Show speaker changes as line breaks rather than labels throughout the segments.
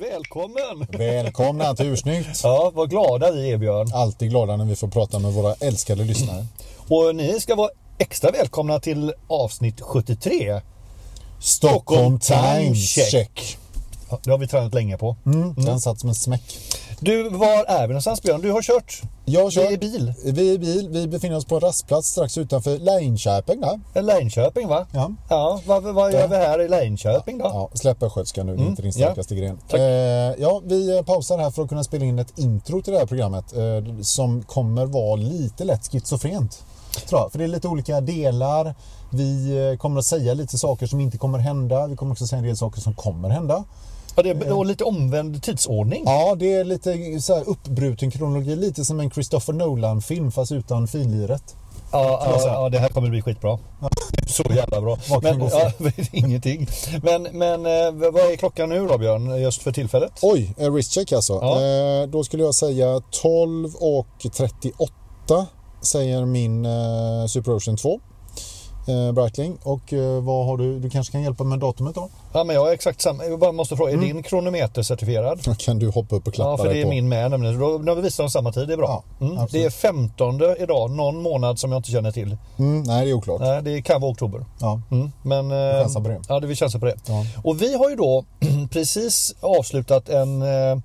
Välkommen!
Välkomna till Ursnyggt!
Ja, vad glada vi är Björn.
Alltid glada när vi får prata med våra älskade lyssnare.
Och ni ska vara extra välkomna till avsnitt 73.
Stockholm Time Check!
Ja, Det har vi tränat länge på.
Mm, Den satt som en smäck.
Du, var är vi någonstans Björn? Du har kört?
Jag kör.
Vi är i bil.
Vi är i bil. Vi befinner oss på en rastplats strax utanför Linköping. Där.
eh, Linköping va?
Ja.
Ja, vad, vad gör vi här i Linköping då? Mm.
Ja, släpp östgötskan nu, det är inte din starkaste gren.
Tack.
Eh, ja, vi pausar här för att kunna spela in ett intro till det här programmet eh, som kommer vara lite lätt schizofrent. Tror jag. För det är lite olika delar. Vi eh, kommer att säga lite saker som inte kommer hända. Vi kommer också säga en del saker som kommer hända.
Ja, det är, och lite omvänd tidsordning.
Eh. Ja, det är lite så här uppbruten kronologi. Lite som en Christopher Nolan-film fast utan finliret.
Ja, ja, ja, det här kommer bli skitbra. Så jävla bra.
Vad kan gå fel?
ja, ingenting. Men, men eh, vad är klockan nu då Björn, just för tillfället?
Oj, en wristcheck alltså.
Ja.
Eh, då skulle jag säga 12 och 38 säger min eh, Super Ocean 2. Eh, Breitling. Och eh, vad har du? Du kanske kan hjälpa med datumet då?
Ja, men jag är exakt samma. Jag bara måste fråga,
Mm.
är din kronometer certifierad?
Då kan du hoppa upp och klappa
Ja, för
dig
det är
på.
min med nämligen. Så Då, då visar de samma tid, det är bra.
Ja,
mm. Det
absolut.
är 15 idag, någon månad som jag inte känner till.
Mm, nej, det är oklart.
Nej, det kan vara oktober.
Ja.
Mm. Men,
Vi chansar på det.
Ja, det, vi chansar på det.
Ja.
Och vi har ju då precis avslutat en, eh,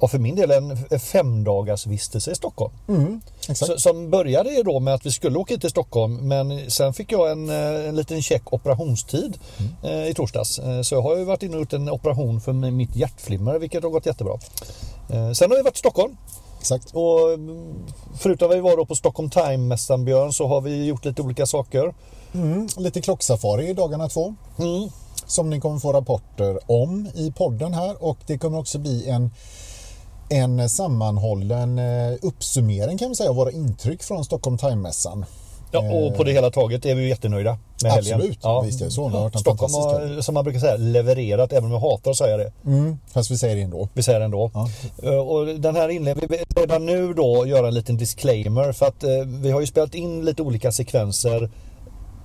ja, för min del, en femdagars vistelse i Stockholm.
Mm, exakt.
Så, som började ju då med att vi skulle åka hit till Stockholm men sen fick jag en, eh, en liten check operationstid
Mm.
eh, i torsdags. Eh, Så jag har ju varit inne och gjort en operation för mi- mitt hjärtflimmer vilket har gått jättebra. Eh, Sen har vi varit i Stockholm
exakt.
och mm, förutom att vi var då på Stockholm Time-mässan Björn så har vi gjort lite olika saker.
Mm, lite klocksafari i dagarna två.
Mm.
som ni kommer få rapporter om i podden här och det kommer också bli en, en sammanhållen eh, uppsummering kan man säga av våra intryck från Stockholm Time-mässan.
Ja, och på det hela taget är vi ju jättenöjda med helgen.
Eh. Absolut, visst är det så. Det har varit en
Stockholm
fantastisk
har, som man brukar säga, levererat även om jag hatar att säga det.
Mm, fast vi säger det ändå.
Vi säger det ändå.
Ja.
Eh, Och den här inledningen, vi vill redan nu då göra en liten disclaimer för att eh, vi har ju spelat in lite olika sekvenser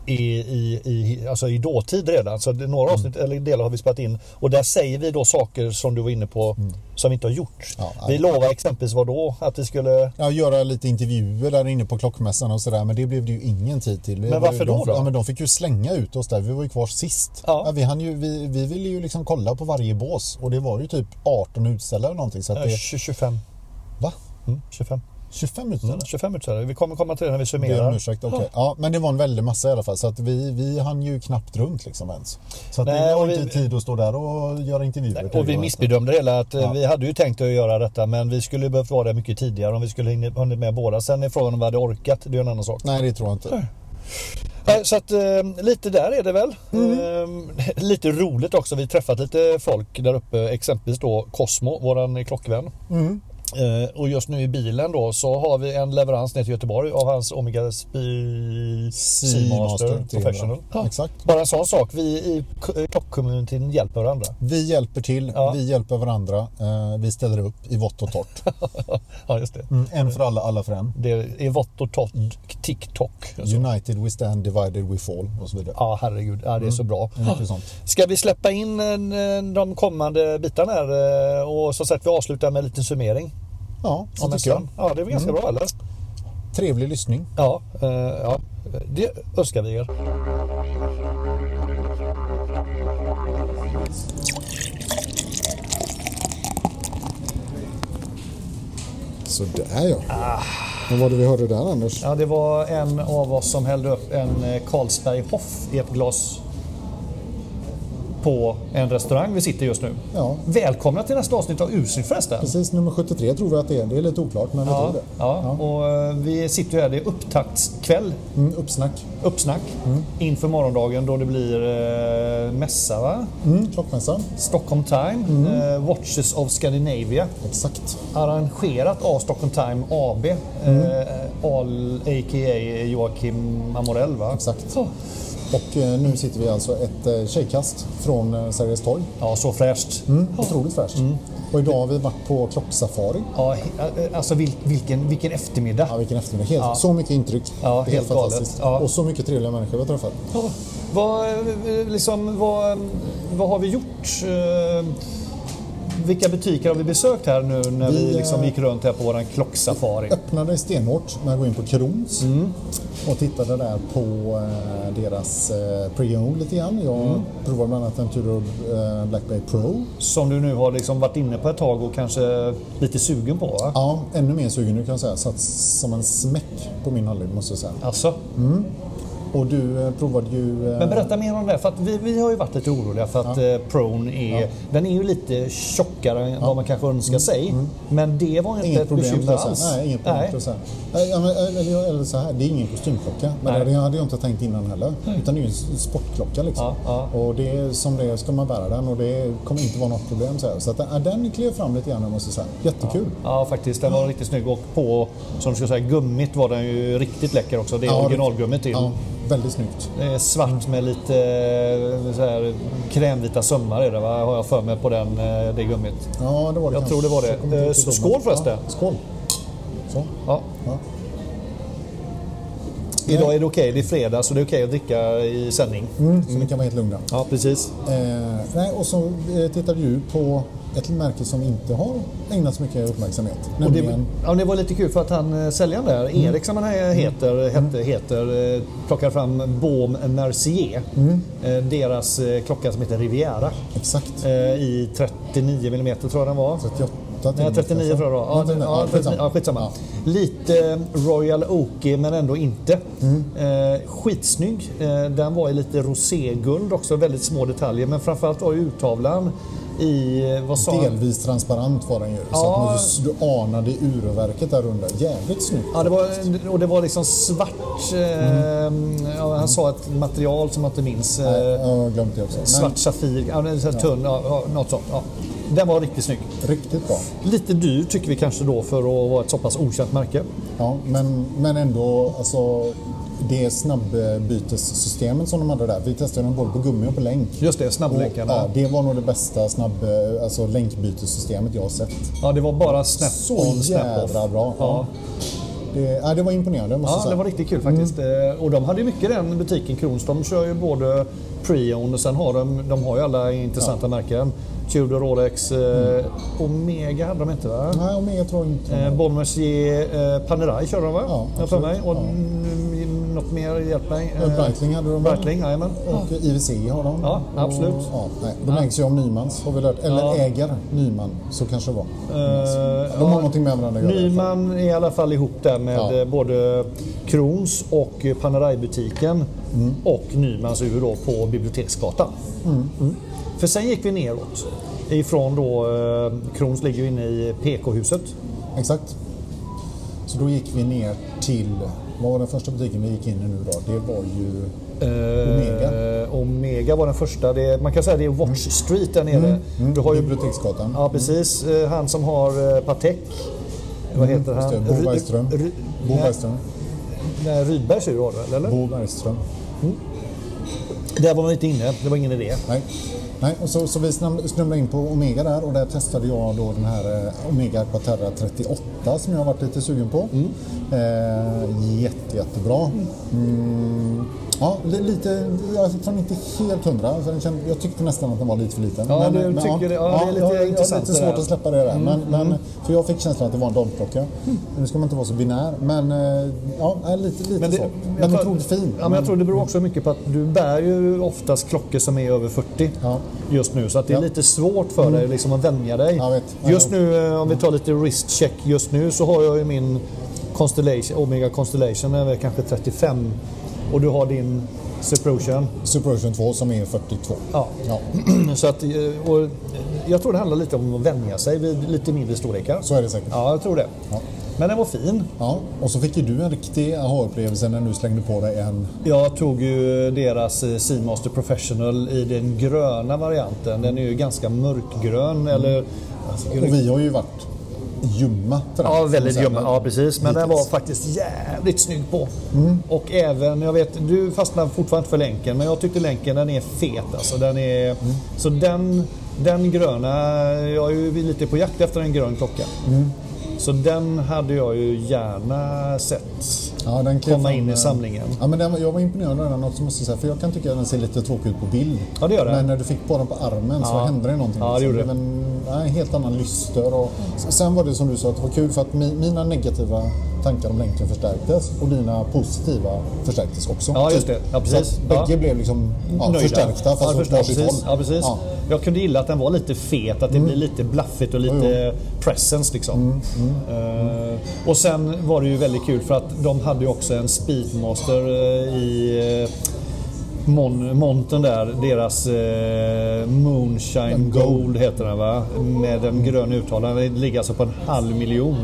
i, i, i, alltså i dåtid redan. Så det-
Mm.
några avsnitt eller delar har vi spelat in och där säger vi då saker som du var inne på som vi inte har gjort.
Mm. Ja, ja.
vi lovade exempelvis vad då? Att vi skulle...
Ja, göra lite intervjuer där inne på klockmässan och sådär men det blev det ju ingen tid till.
Men varför
de,
då då?
Ja, men de fick ju slänga ut oss där, vi var ju kvar sist.
Ja.
vi, hann ju, vi, vi ville ju liksom kolla på varje bås och det var ju typ 18 utställare eller någonting så att
eh,
det...
20, 25.
Va?
Mm, 25.
25 utställare?
Mm, 25 utställare. Vi kommer komma till det när vi
Ber om
summerar.
ursäkt, okej. Ja, men det var en väldig massa i alla fall. Så att vi, vi hann ju knappt runt liksom ens. Så att
Nej,
vi
och
har
vi-
inte tid att stå där och göra intervjuer. till
Och vi
varandra.
missbedömde det hela att eh,
Ja.
vi hade ju tänkt att göra detta men vi skulle ju behövt vara där mycket tidigare om vi skulle hinna- hunnit med båda. Sen är frågan om vi hade orkat, det är en annan sak.
Nej, det tror jag inte.
Nej, Så att eh, lite där är det väl. Ehm, lite roligt också, vi har träffat lite folk där uppe, exempelvis då Cosmo, våran klockvän.
Mm.
Eh, och just nu i bilen då så har vi en leverans ner till Göteborg av hans Omega Spi- Seamaster Professional.
Ja. Exakt.
Bara en sån sak, vi i k- eh, klockcommunityn hjälper varandra.
Vi hjälper till,
Ja.
vi hjälper varandra, eh, vi ställer upp i vått och torrt.
Ja, just det.
Mm, en för alla, alla för en.
Det är vått och torrt, TikTok.
United we stand, divided we fall och så vidare.
Ja, herregud. Ja, det är så bra.
Mycket sånt.
Ska vi släppa in eh, de kommande bitarna här eh, och som sagt vi avslutar med en liten summering.
Ja,
om
så tycker
mässan.
jag.
Ja, det Mm. är väl ganska bra eller?
Trevlig lyssning.
Ja, eh, ja, det önskar vi er.
Så där ja. Vad var det vi hörde där Anders?
Ja, det var en av oss som hällde upp en eh, Carlsberg Hoff i ett glas på en restaurang vi sitter just nu.
Ja.
Välkomna till nästa avsnitt av Ursnyggt förresten.
Precis, nummer 73 tror vi att det är. Det är lite oklart men vi
Ja,
tror det.
ja, och eh, vi sitter ju här, det är upptaktskväll
Mm, uppsnack.
uppsnack inför morgondagen då det blir eh, mässa, va?
Mm, klockmässan.
Stockholm Time,
Mm.
eh, Watches of Scandinavia,
Exakt.
arrangerat av Stockholm Time AB,
Mm.
eh, all, a.k.a. Joakim Amorell. Va?
Exakt. Och eh, nu sitter vi alltså ett eh, tjejkast från eh, Sergels torg.
Ja, så fräscht.
Mm. Otroligt fräscht. Och idag har vi varit på klocksafari.
Ja, he- eh, alltså vil, vilken, vilken eftermiddag.
Ja, vilken eftermiddag. Helt, Så mycket intryck.
Ja,
Det är
helt galet.
fantastiskt.
Ja.
Och så mycket trevliga människor vi har träffat.
Ja. Vad, eh, liksom, vad, vad har vi gjort? Eh, vilka butiker har vi besökt här nu när vi,
Vi, eh,
liksom gick runt här på våran klocksafari?
öppnade stenhårt med att gå in på Krons
Mm.
och tittade där på eh, deras eh, pre-owned lite grann. Jag
Mm.
provade bland annat en Tudor eh, Black Bay Pro.
Som du nu har liksom varit inne på ett tag och kanske lite sugen på va?
Ja, ännu mer sugen nu kan jag säga. Satt som en smäck på min hallyd måste jag säga.
Alltså,
Och du eh, provade ju... eh,
men berätta mer om det. För att vi, vi har ju varit lite oroliga för att eh, Prone är, den är ju lite tjockare än vad man kanske önskar sig. Men det var inte
Mm. Inget
ett
problem
bekymmer
att lösa.
alls.
Nej, inget problem
Nej.
att lösa. Nej, ja, men, Eller, jag- eller så här, det är ingen kostymklocka. Men
Nej.
det hade jag inte tänkt innan heller. Utan det är ju en sportklocka liksom.
Ja,
Och det är som det är ska man bära den och det kommer inte vara något problem. Så, här. så att, den- ja, den klev fram lite grann, jag måste säga. Jättekul.
Ja faktiskt, den var riktigt snygg och på, som du ska säga, gummit var den ju riktigt läcker också. Det är
Ja, det-
originalgummit till.
Ja, väldigt snyggt.
Det är svart med lite eh, så här, krämvita sömmar är det va? Har jag för mig på den, eh, det gummit.
Ja, det var
Jag
det kanske.
tror det var det.
Jag kommer inte
Eh,
riktigt ihåg,
skål
men-
förresten.
Ja, skål. Så.
Ja.
Ja.
Idag är det okej, det är fredag så det är okej att dricka i sändning.
Så ni kan vara helt lugna.
Ja precis.
Eh, nej, och så eh, tittade du på ett märke som inte har ägnat så mycket uppmärksamhet.
Och det,
Nämligen...
ja, det var lite kul för att han eh, säljaren där, Erik som han här heter, hette, heter eh, plockade fram Baum Mercier. Eh, Deras eh, klocka som heter Riviera.
Exakt.
eh, I 39 mm tror jag den var.
38
Nej, 39 tror jag det var. Ja, det- alltså. ja, 39, ja, skitsamma. Lite eh, Royal Oaky men ändå inte. Eh, skitsnygg. Eh, den var i lite roséguld också, väldigt små detaljer. Men framförallt var ju urtavlan i, eh, vad sa han?
Delvis transparent var den ju. Så
Ja.
att man, ju- du anade urverket där under. Jävligt snyggt.
Ja, det var, och det var liksom svart. Eh, ja, han sa ett material som jag inte minns.
Nej,
Eh,
Jag har glömt det också. Men
svart safir, ja, den är så här tunn, ja, ja, något sånt. Ja. Den var riktigt snygg.
Riktigt bra.
Lite dyr tycker vi kanske då för att vara ett så pass okänt märke.
Ja, men, men ändå, alltså, det snabbbytessystemet som de hade där. Vi testade den både på gummi och på länk.
Just det,
Och,
snabblänkarna.
ja, det var nog det bästa snabb, alltså, länkbytessystemet jag har sett.
Ja, det var bara snap
Så
on, snap off.
jädra bra.
Ja,
Det, ja, det var imponerande måste jag
ja
säga.
det var riktigt kul faktiskt. Eh, Och de hade ju mycket i den butiken, Krons. De kör ju både pre-owned och sen har de, de har ju alla intressanta märken. Tudor, Rolex, eh, Omega hade de inte va?
Nej, Omega tror jag inte.
Eh, Bon Mercier, eh, Panerai körde de va?
Ja,
Jag har för
absolut.
mig. Och
Ja.
mm, något mer, hjälp mig.
Eh,
Eh,
Breitling hade de väl?
Breitling, jajamän.
Och IWC har de.
Ja, absolut.
Och, ja, nej, de ägs ju av Nymans har vi lärt. Eller
Ja.
äger Nyman, så kanske det var.
Eh,
Mm. De har någonting med varandra att göra. i alla fall.
Nyman är i alla fall ihop där med
Ja.
eh, både Krons och eh, Panerai-butiken
Mm.
och Nymans ur då på Biblioteksgatan. Mm. För sen gick vi neråt ifrån då, eh, Krons ligger ju inne i PK-huset.
Exakt. Så då gick vi ner till, vad var den första butiken vi gick in i nu då? Det var ju Mm. Omega.
Eh, Omega var den första, det, är- man kan säga det är
Mm.
Watch Street där nere. Du har ju
Biblioteksgatan.
Ja, precis. Eh, Han som har eh, Patek. Vad heter
Mm. Just
han?
det, Bo
Ry-
Bergström.
Ry-
Bo
nej,
Bergström.
nej, Rydberg ser du har det, eller?
Bo Bergström.
Där var man inte inne, det var ingen idé.
Nej. Nej, och så, så vi snam- snubblade in på Omega där och där testade jag då den här eh, Omega Aquaterra 38 som jag har varit lite sugen på.
Mm.
Eh, jätte, jättebra. Mm. Ja, li- lite, jag fick den inte helt hundra. För den kände, jag tyckte nästan att den var lite för liten. eh,
Ja, du tycker det. Ja, det är lite
jag, jag har
intressant
lite
det
svårt
där. Mm,
att släppa det där. Men, men, för jag fick känslan att det var en damklocka. Nu ska man inte vara så binär, men eh, ja, nej, lite, lite
Men det,
så.
jag
Men
tror-
otroligt fin.
Ja, men jag tror det beror också mycket på att du bär ju oftast klockor som är över 40
Ja.
just nu. Så att det är
Ja. Mm.
lite svårt för dig liksom att vänja dig.
Jag vet. Jag
Just
vet.
nu, eh, om vi tar lite wrist check just nu, så har jag ju min Constellation, Omega Constellation, den är väl kanske 35. Och du har din Suprotion.
Super Ocean 2 som är 42.
Ja.
Ja,
Så att, eh, och jag tror det handlar lite om att vänja sig vid lite mindre storlekar.
så är det säkert.
Ja, jag tror det.
Ja.
Men den var fin.
Ja, och så fick ju du en riktig aha-upplevelse när du slängde på dig en...
Jag tog ju deras eh, Seamaster Professional i den gröna varianten. Den är ju ganska mörkgrön.
Mm.
Eller, alltså,
Och vi har ju varit ljumma till
ja,
den, som man
väldigt
säger,
ljummen.
men-
Ja, precis. Men den var
hittills. Mm.
faktiskt jävligt snygg på. Och även, jag vet, du fastnar fortfarande för länken. Men jag tyckte länken, den är fet alltså. Den är,
Mm.
Så den, den gröna, jag är ju lite på
Mm.
jakt efter en grön klocka. Så den hade jag ju gärna sett.
Ja, den kan
komma
jag
in
fan,
i samlingen.
Ja, men den, jag var imponerad av den också måste jag säga. För jag kan tycka att den ser lite tråkig ut på bild.
Ja, det gör den.
Men när du fick på den på armen så
Ja.
hände det någonting.
Ja, det gjorde
blev en, ja, en helt annan lyster. Och, sen var det som du sa, att det var kul för att mi, mina negativa tankar om länken förstärktes och dina positiva förstärktes också.
Ja, just
Typ.
det. Ja, precis.
Så att
Ja.
Bägge blev liksom ja,
Nöjda.
förstärkta fast åt
förstår,
varsitt
precis.
håll.
Ja, precis.
Ja. Mm.
Jag kunde gilla att den var lite fet, att det blir lite blaffigt och lite presence liksom.
mm.
Eh, och sen var det ju väldigt kul för att de hade ju också en speedmaster eh, i eh, Mon, monten där, deras eh, Moonshine Gold heter den va? Med
Mm.
en grön uttalare. Den ligger alltså på en halv miljon.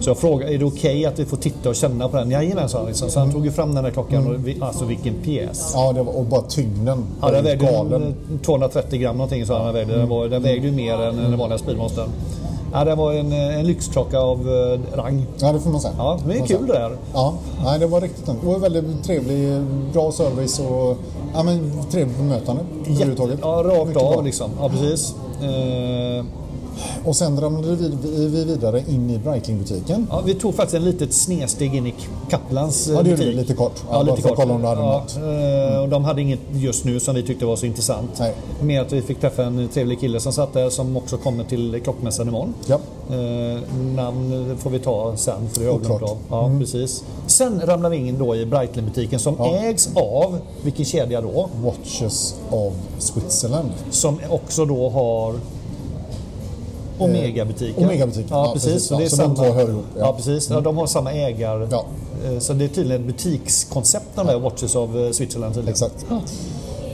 Så jag frågade, är det okej att vi får titta och känna på den? Jajamän, sa han. Liksom. Så han
Mm.
tog ju fram den här klockan. Och vi, alltså vilken pjäs.
Ja, det var, och bara tyngden.
Ja, den vägde
galen.
en- 230 gram någonting så den vägde. Den, var, den vägde ju mer än den vanliga Speedmastern. Ja, det var en, en lyxklocka av eh, rang.
Ja, det får man säga.
Ja, det
Får
är
man
kul
säga.
det där.
Ja, nej, det var riktigt Det var väldigt trevlig, bra service och ja, men, trevligt bemötande överhuvudtaget.
ja, rakt
Mycket bra.
av liksom. Ja, precis. Eh,
Och sen ramlade vi, vi- vi vidare in i Breitling-butiken.
ja, vi tog faktiskt en litet snedsteg in i Kaplans eh,
Ja, det gjorde
butik.
vi lite kort. Ja, bara för att kolla om du hade något. Mm.
eh, och de hade inget just nu som vi tyckte var så intressant.
Nej.
Mer att vi fick träffa en trevlig kille som satt där som också kommer till klockmässan imorgon.
Ja.
Eh, namn får vi ta sen för det har jag glömt
Oklart.
av. Ja, precis. Sen ramlar vi in då i Breitling-butiken som ägs av, vilken kedja då?
Watches of Switzerland.
Som också då har Omega-butiken.
Omega-butiken,
Ja,
ja,
precis.
precis.
Så, det är
Så
samma...
de två hör ihop,
Ja,
ja.
precis. Ja, de har samma ägar...
Ja.
Eh, Så det är tydligen ett butikskoncept de där Watches of eh, Switzerland tydligen.
Exakt.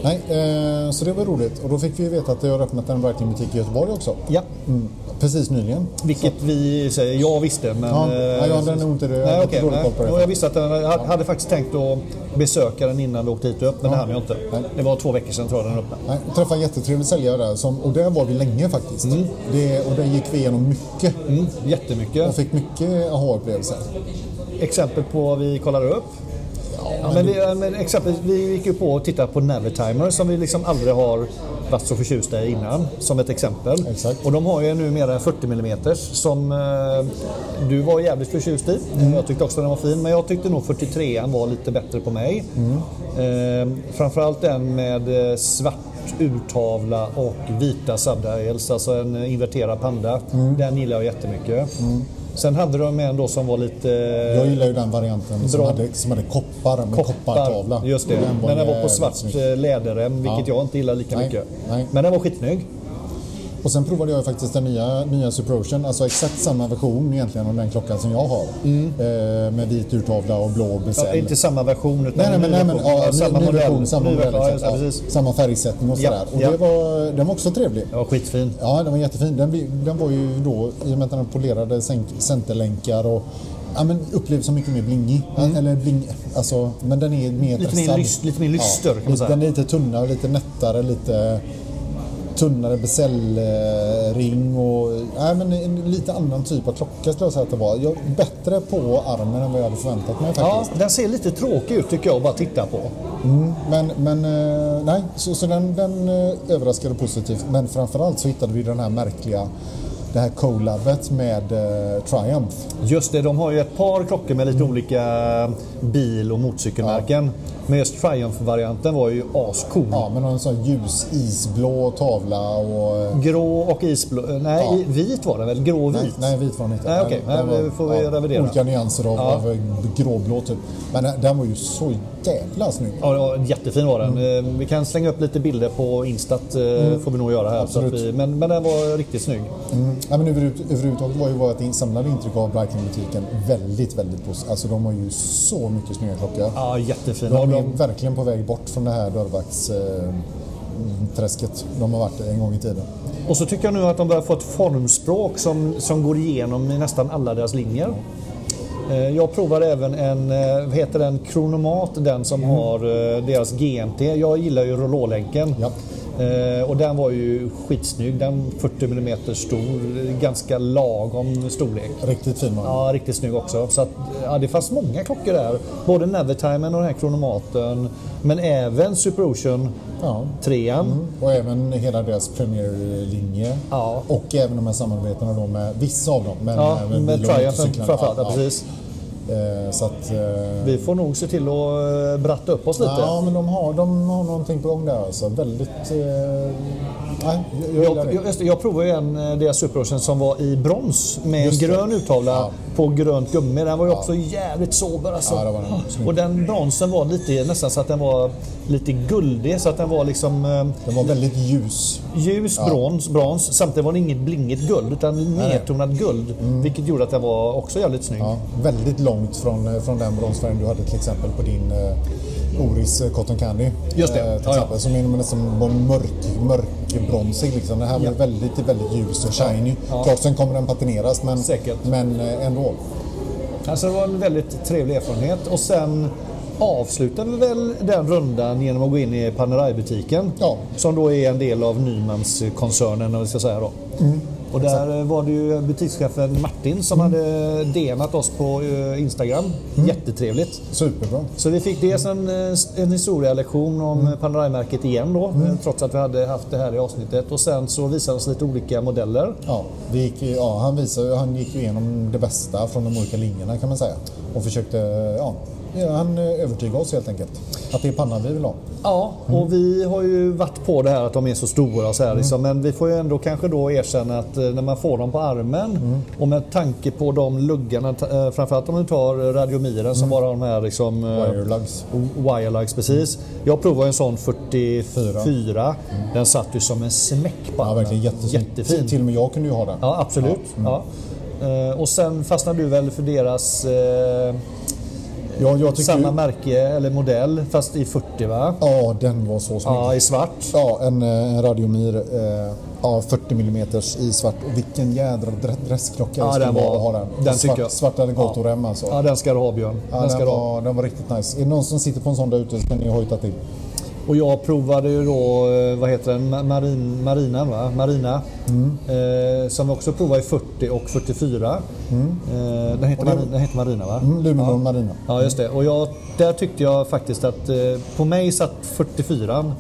Nej, eh, så det var roligt. Och då fick vi ju veta att det har öppnat en Breitling-butik i Göteborg också.
Ja,
Mm, precis nyligen.
vilket vi säger, jag visste men...
Ja,
eh,
nej, jag hade nog inte det. Jag
Nej,
hade
okej,
dålig
nej.
koll på det.
Jo, Jag visste att den, jag hade faktiskt tänkt att besöka den innan vi åkte hit upp, men det hann jag inte.
Nej.
Det var två veckor sedan tror jag den öppnade.
Nej, jag träffade en jättetrevlig säljare där som, och där var vi länge faktiskt. Det, och där gick vi igenom mycket
Mm, jättemycket.
och fick mycket aha-upplevelser.
Exempel på vad vi kollade upp. Ja, men vi, ja, men exempel, vi gick ju på och tittade på Navitimer som vi liksom aldrig har varit så förtjusta i innan. Som ett exempel.
Exakt.
Och de har ju numera en 40 mm som eh, du var jävligt förtjust i. Jag tyckte också den var fin men jag tyckte nog 43 var lite bättre på mig. Eh, framförallt den med eh, svart urtavla och vita subdials, alltså en eh, inverterad panda. Den gillar jag jättemycket. Sen hade de en då som var lite... eh,
Jag gillar ju den varianten som
Bra.
hade, som hade koppar med koppartavla.
Just det.
Den
men den var på
jävligt
svart
snygg.
eh, läderrem, vilket
Ja.
jag inte gillar lika
Nej,
mycket.
nej.
Men den var skitsnygg.
Och sen provade jag ju faktiskt den nya, nya Super Ocean, alltså exakt samma version egentligen av den klockan som jag har. Eh, med vit urtavla och blå
Mm. Ja,
bezel.
inte samma version utan
Nej, nej, men,
en ny
nej, men
version.
ja, ny,
samma
ny
modell.
version, samma
Ny
modell.
version, ja,
exakt, ja.
precis.
samma färgsättning och
Ja,
sådär. Och
ja.
det var, den var också trevlig.
Den var skitfin.
Ja, den var jättefin. Den, blir- den var ju då, i och med att den polerade sänk- centerlänkar och ja, men upplevs som mycket mer blingig. Eller bling, alltså, men den är mer
Mm. Lite mer
dressad.
lys- lite mer lyster, kan man
lite-
säga.
Den är lite tunnare, lite nättare, lite tunnare bezelring och nej, men en lite annan typ av klocka skulle jag säga att det var. Jag, bättre på armen än vad jag hade förväntat mig
Ja,
faktiskt.
den ser lite tråkig ut tycker jag att bara titta på.
Men, men eh, nej, så, så den, den eh, överraskade positivt. Men framförallt så hittade vi den här märkliga, det här collabet med eh, Triumph.
Just det, de har ju ett par klockor med lite
Mm.
olika bil och motorcykelmärken. Men just Triumph-varianten var ju ascool.
Ja, men en sån ljus isblå tavla och... eh,
Grå och isblå. Nej,
Ja.
i- vit var den väl? Grå och
Nej,
vit?
nej, vit var den inte.
Nej, okej.
Den- den
Nej,
var-
vi får vi revidera.
Olika nyanser av,
Ja.
av eh, gråblå typ. Men den, den var ju så jävla snygg.
Ja, ja, jättefin var den. Eh, Vi kan slänga upp lite bilder på Instat, eh, får vi nog göra här. Så att
Absolut.
vi, men, men den var riktigt snygg.
Mm. Ja, men överhuvud- överhuvudtaget var ju vårt samlade intryck av Breitling-butiken väldigt, väldigt positivt. Alltså de har ju så mycket snygga klockor.
Ja, jättefin. Och
De är
de,
verkligen på väg bort från det här dörrvaktsträsket de har varit en gång i tiden.
och så tycker jag nu att de börjar få ett formspråk som, som går igenom i nästan alla deras linjer. Eh, Jag provar även en, eh, vad heter den, Kronomat, den som har eh, deras GMT. Jag gillar ju Rololänken.
Ja.
Eh, Och den var ju skitsnygg. Den 40 mm stor, eh, ganska lagom storlek.
Riktigt fin man.
Ja, riktigt snygg också. Så att, ja, det fanns många klockor där. Både Nevertimen och den här kronomaten. Men även Super Ocean
Ja.
3
Och även hela deras premierlinje.
Ja.
Och även de här samarbetena då med vissa av dem. Men
Ja,
Mm. även
med
bil- och
Triumphen
motorcyklarna.
framförallt. Ja,
Ja,
precis.
ja. Eh, så att, eh,
Vi får nog se till att eh, bratta upp oss lite.
Ja, men de har, de har någonting på gång där alltså. Väldigt... Eh, nej, jag, jag gillar
Jag, jag,
det.
just det, jag provade ju en eh, deras superrosen som var i brons med en
Just det.
grön urtavla
Ja.
på grönt gummi. Den var ju också jävligt sober alltså.
Ja, det var den. Snygg.
Och den bronsen var lite, nästan så att den var lite guldig. Så att den var liksom eh,
Den var väldigt ljus.
ljus brons, brons. Samtidigt var det inget blingigt guld utan nedtonat guld. Vilket gjorde att den var också jävligt snygg.
Mm. Ja, väldigt långt från, eh, från den bronsfärgen du hade till exempel på din eh, Oris eh, Cotton Candy.
Just det.
Eh,
Ja,
till
ja.
exempel, Som är nästan var mörk, mörkbronsig. Liksom. Den här var
Ja.
väldigt, väldigt ljus och shiny.
Ja.
Klart sen kommer den patineras men,
Säkert.
men eh, ändå.
Alltså det var en väldigt trevlig erfarenhet. Och sen avslutade vi väl den rundan genom att gå in i Panerai-butiken.
Ja.
Som då är en del av Nymans-koncernen, eller vad vi ska säga då.
Mm.
Och där eh, var det ju butikschefen Martin som hade DMat oss på eh, Instagram.
Mm.
Jättetrevligt.
Superbra.
Så vi fick dels en, eh, en historielektion om mm. Panerai-märket igen då,
Mm.
eh, trots att vi hade haft det här i avsnittet. Och sen så visade oss lite olika modeller.
Ja, vi gick, ja, han, visade, han gick ju igenom det bästa från de olika linjerna kan man säga. Och försökte, eh, ja, han eh, övertygade oss helt enkelt. Att det är pannan vi vill ha.
Ja, och vi har ju varit på det här att de är så stora och så
Mm.
här, liksom, men vi får ju ändå kanske då erkänna att eh, när man får dem på armen
Mm.
och med tanke på de luggarna, ta- eh, framförallt om du tar eh, radiomiren som var de här liksom, eh,
Mm. Wire lugs.
Wirelags precis. Jag provade en sån 44. Den satt ju som en smäck på
Ja,
armen.
verkligen jättesnyggt.
Jättefin.
Till och med jag kunde ju ha den.
Ja, absolut. Ja. Eh, Och sen fastnade du väl för deras eh,
Ja, jag tycker
samma
ju,
märke eller modell fast i 40 va?
Ja, den var så snygg.
Ja, i svart.
Ja, en, eh, en radiomir eh, ja, 40 mm i svart. Och vilken jädra dre- dressklocka
Ja,
det skulle
den
vara
var-
att ha den.
den
svart,
tycker jag.
Svarta legatorem alltså.
Ja, den ska du ha Björn.
Ja,
den
den,
ska du ha.
var, den var riktigt nice. Är det någon som sitter på en sån där ute så kan ni hojta till.
Och jag provade ju då, eh, vad heter den, Ma- Marin, Marinan va? Marina.
Mm.
Eh, som vi också provade i 40 och 44. Eh, den, heter Marina, den heter Marina va?
Mm, Luminor Marina.
Ja just det. Och jag, där tyckte jag faktiskt att eh, på mig satt 44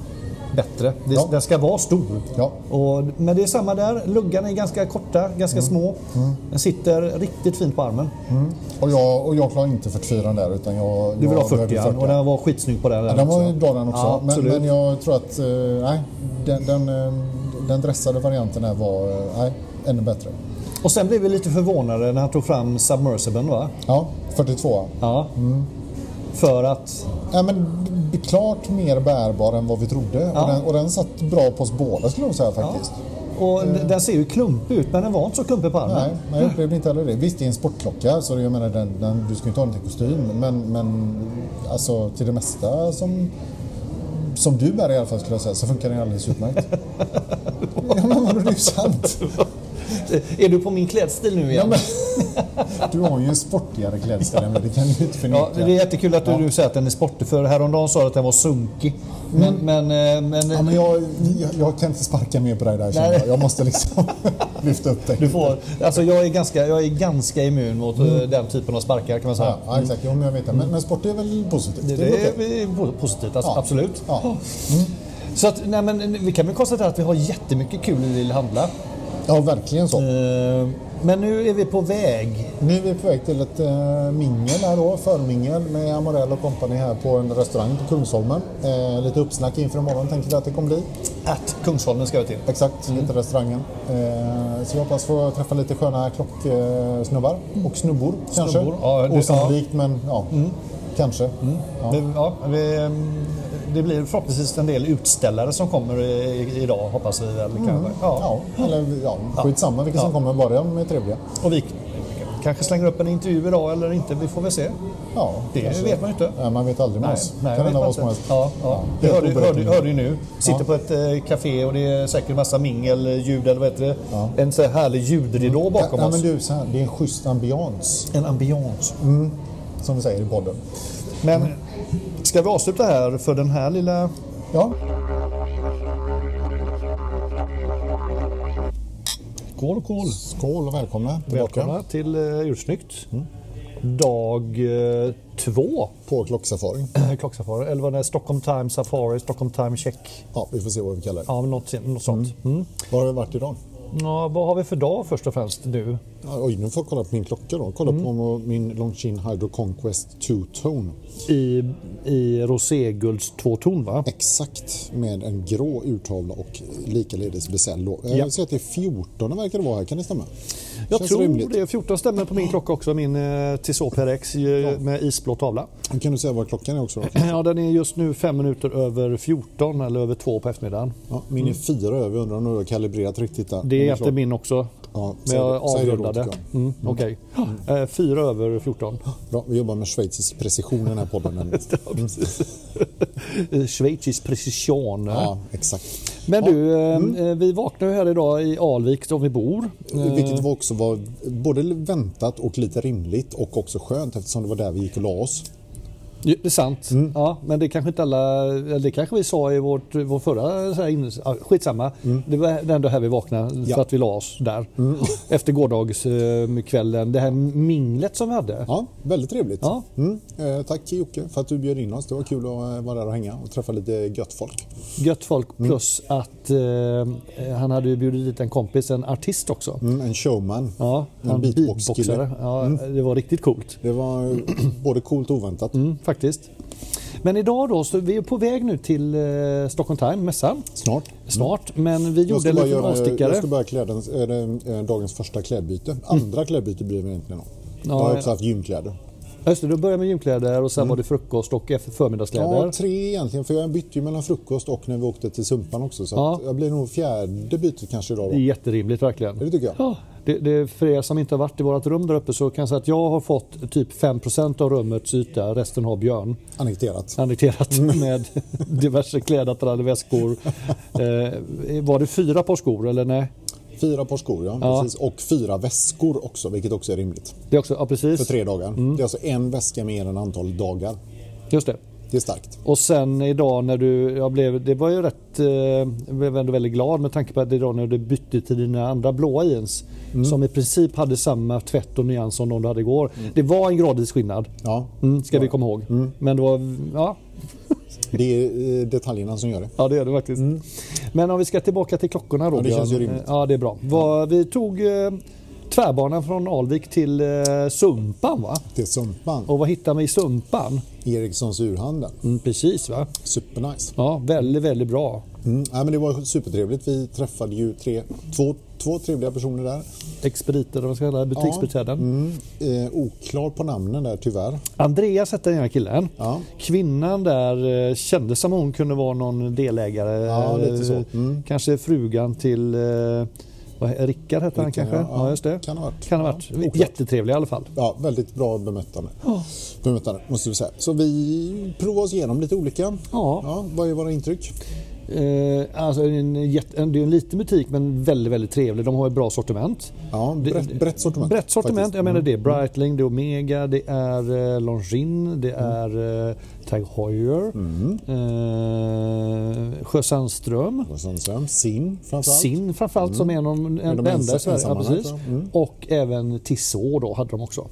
bättre. Det,
Ja.
Den ska vara stor.
Ja.
Och, men det är samma där, luggarna är ganska korta, ganska
Mm.
små. Den sitter riktigt fint på armen.
Och jag, och jag klarar inte 44 där utan jag...
Du vill
jag
ha 40
behövde
och den var skitsnygg på den. där
Ja, den var ju
också.
bra den också.
Ja,
men,
absolut.
men jag tror att eh, nej, den, den, eh, den dressade varianten här var eh, nej, ännu bättre.
Och sen blev vi lite förvånade när han tog fram Submersiben va?
Ja, 42.
Ja.
Mm.
För att...
Ja, men b- klart mer bärbar än vad vi trodde. Och, den, och den satt bra på oss båda skulle jag säga faktiskt.
Och
Eh.
d- Den ser ju klumpig ut, men den var inte så klumpig på armen.
Nej, men jag upplevde inte heller det. Visst, det är en sportklocka, så det- jag menar, den, den, du ska ju inte ha den till kostym. Men, men alltså, till det mesta som, som du bär i alla fall skulle jag säga, så funkar den alldeles utmärkt. ja, men vadå, det är ju sant.
Är du på min klädstil nu igen?
Ja, men, du har ju en sportigare klädsel än vad det kan du inte förneka.
Ja, det är jättekul att du nu säger att den är sportig, för häromdagen sa du att den var sunkig. Men, men, eh, men,
Mm. Ja, men jag, jag, jag kan inte sparka mer på dig där känner jag. Jag måste liksom lyfta upp dig.
du får, alltså jag, är ganska, jag är ganska immun mot eh,
Mm.
den typen av sparkar kan man säga.
Ja, ja, exakt. Jo, men jag vet det. Men, men sport är väl positivt?
Det,
väl
det
okej.
är eh, positivt, alltså,
Ja.
absolut.
Ja.
Så att, nej, men, vi kan väl konstatera att vi har jättemycket kul i Lille Handla.
ja, verkligen så.
Eh, Men nu är vi på väg
Nu är vi på väg till ett äh, mingel här då, förmingel med Amorell och kompani här på en restaurang på Kungsholmen. Eh, lite uppsnack inför imorgon tänker vi att det kommer bli.
Att Kungsholmen ska jag till.
Exakt,
Mm.
lite restaurangen. Eh, så jag hoppas få träffa lite sköna klocksnubbar och snubbor kanske.
Snubbor, Mm. ja, det- Mm.
Osannolikt men ja, kanske. Ja.
Vi- Ja, vi, mm, det blir förhoppningsvis en del utställare som kommer i- idag hoppas vi väl. kanske. Ja.
Ja, eller ja, skitsamma vilka som kommer, bara de är trevliga.
Och vi kanske slänger upp en intervju idag eller inte, vi får väl se.
Ja,
Det vet man ju inte.
Nej, man vet aldrig med oss.
nej, jag
kan hända
vet
vad som
inte.
helst.
Ja, ja. Det
helt
hörde, hörde,
oberäkneligt.
hörde ju nu. Sitter
Ja.
på ett eh, café och det är säkert massa mingel, ljud eller vad heter det?
Ja.
En så här härlig ljudridå
Ja,
bakom
nej, men
oss.
du, så här, det är en schysst ambians,
En ambiance.
som vi säger i podden.
Men ska vi avsluta här för den här lilla...
Ja,
Skål och kol.
skål och välkomna tillbaka
Välkomna till eh, Ursnyggt. Dag eh, två
på klocksafari.
klocksafari, eller vad det är, Stockholm Time Safari, Stockholm Time Check.
Ja, vi får se vad vi kallar det.
Ja, något, något sånt. Mm.
Var har vi varit idag?
Ja, vad har vi för dag först och främst nu?
Oj, nu får jag kolla på min klocka då. Kolla
Mm.
på min Longines Hydro Conquest 2-tone.
I, i roségulds tvåton va?
Exakt, med en grå urtavla och likaledes bezel då. Eh,
Ja.
Jag ser att det är 14 verkar det vara här, kan det stämma?
Jag
Känns
tror
rimligt.
det. 14 stämmer på min klocka också, min eh, Tissot PRX eh, med isblå tavla.
Kan du säga vad klockan är också då?
Ja, den är just nu fem minuter över 14 eller över två på eftermiddagen.
Ja, min är fyra över, undrar om du har kalibrerat riktigt där.
Mm. Det
Men
är
är
efter
klart.
min också.
Ja,
Men
säg det-
jag
säg det då,
avrundade.
tycker jag.
Mm, Okej. Eh, Fyra över 14.
Bra, vi jobbar med schweizisk precision i den här podden. nämligen.
Eh, Schweizisk precision.
ja, exakt.
Men
Ja. Mm.
du, eh, eh, vi vaknar ju här idag i Alvik där vi bor.
Vilket var också var både väntat och lite rimligt och också skönt eftersom det var där vi gick och la oss.
Ja, Det är sant.
Mm.
Ja, men det kanske inte alla... eller Det kanske vi sa i vårt, vår förra... Så här, innes- ja, skitsamma. Det var ändå här vi vaknade
Mm. Ja. Mm.
för att vi la oss där. Efter gårdagskvällen. Det här minglet som vi hade.
Ja, väldigt trevligt.
Ja.
Mm. Eh, tack Jocke för att du bjöd in oss. Det var kul att eh, vara där och hänga och träffa lite gött folk.
Gött folk
Mm.
plus att eh, han hade ju bjudit dit en kompis, en artist också.
Mm, en showman.
Ja,
En
han
beatbox-kille. Mm.
beatboxare. Ja, Det var riktigt coolt.
Det var eh, både coolt och oväntat.
Mm, faktiskt. Men idag då, så vi är på väg nu till eh, Stockholm Time, mässan,
Snart.
snart. Men vi
Mm. Jag
gjorde
ska,
en
bara
liten
göra, eh, jag
avstickare. Mm.
ska bara klä den, är det, eh, dagens första klädbyte. Andra klädbyte blir det egentligen. jag har
ja.
också haft gymkläder.
Ja, Just det, du började med gymkläder och sen var det frukost och efter- förmiddagskläder.
Mm. Ja, tre egentligen. För jag bytte ju mellan frukost och när vi åkte till Sumpan också. Så
Ja.
att jag blir nog fjärde bytet kanske idag.
Det
Då.
är jätterimligt verkligen.
Det tycker jag.
Ja, det, det, för er som inte har varit i vårt rum där uppe så kan jag säga att jag har fått typ 5% av rummets yta, resten har Björn.
Annekterat.
annekterat
Mm.
med diverse klädattrade väskor. Eh, var det fyra par skor eller nej?
Fyra par skor, ja.
Ja.
Precis. Och fyra väskor också, vilket också är rimligt.
Det också, ja
För
precis.
tre dagar.
Mm.
Det är alltså en väska mer än antal dagar.
Just det.
Det är starkt.
Och sen idag när du, jag blev, det var ju rätt, eh, jag blev ändå väldigt glad med tanke på att idag när du bytte till dina andra blåa jeans
Mm.
som i princip hade samma tvätt och nyans som de du hade igår. Det var en gradvis skillnad,
Mm. Ja,
mm, ska vi komma ihåg. Men det var, ja,
det är eh, detaljerna som gör det.
Ja, det är det faktiskt. Men om vi ska tillbaka till klockorna då.
Mm. Ja, det
Björn.
känns ju rimligt.
Ja, det är bra. Vad- Vi tog eh, tvärbanan från Alvik till eh, Sumpan, va?
Det är Sumpan,
Och vad hittar vi i Sumpan?
Erikssons urhandel.
Mm, precis, va?
Supernice.
Ja, väldigt, väldigt bra.
Mm. Ja, men det var supertrevligt. Vi träffade ju tre, två, två trevliga personer där.
Expediter, eller vad ska jag kalla det? Butiksbiträden.
Mm. Eh, oklar på namnen där tyvärr.
Andreas hette den ena killen.
Ja.
Kvinnan där eh, kändes som hon kunde vara någon delägare.
Ja, lite så. Mm.
Eh, Kanske frugan till eh, vad, Rickard hette han
Rickard,
kanske?
ja.
Ja,
Ja,
just det.
kan ha varit.
Kan ha varit.
Ja, oklart.
Jättetrevlig i alla fall.
Ja, väldigt bra bemötande. bemötande måste vi säga. Så vi provar oss igenom lite olika.
Ja.
vad är våra intryck?
Eh, alltså en, jätte, en, det är en liten butik men väldigt, väldigt trevlig. De har ett bra sortiment.
Ja,
Det-
brett, brett sortiment.
Brett sortiment.
faktiskt. Mm.
Jag menar det är Breitling, det är Omega, det är eh, Longines, det
Mm.
är eh, Tag Heuer, eh, Sjö Sandström,
Och sen så, Sim framförallt. Mm.
Sinn framförallt som är någon, en,
de
den
ens-
enda i Sverige. Ja,
ensamma här,
precis.
tror jag. Mm.
Och även Tissot då hade de också.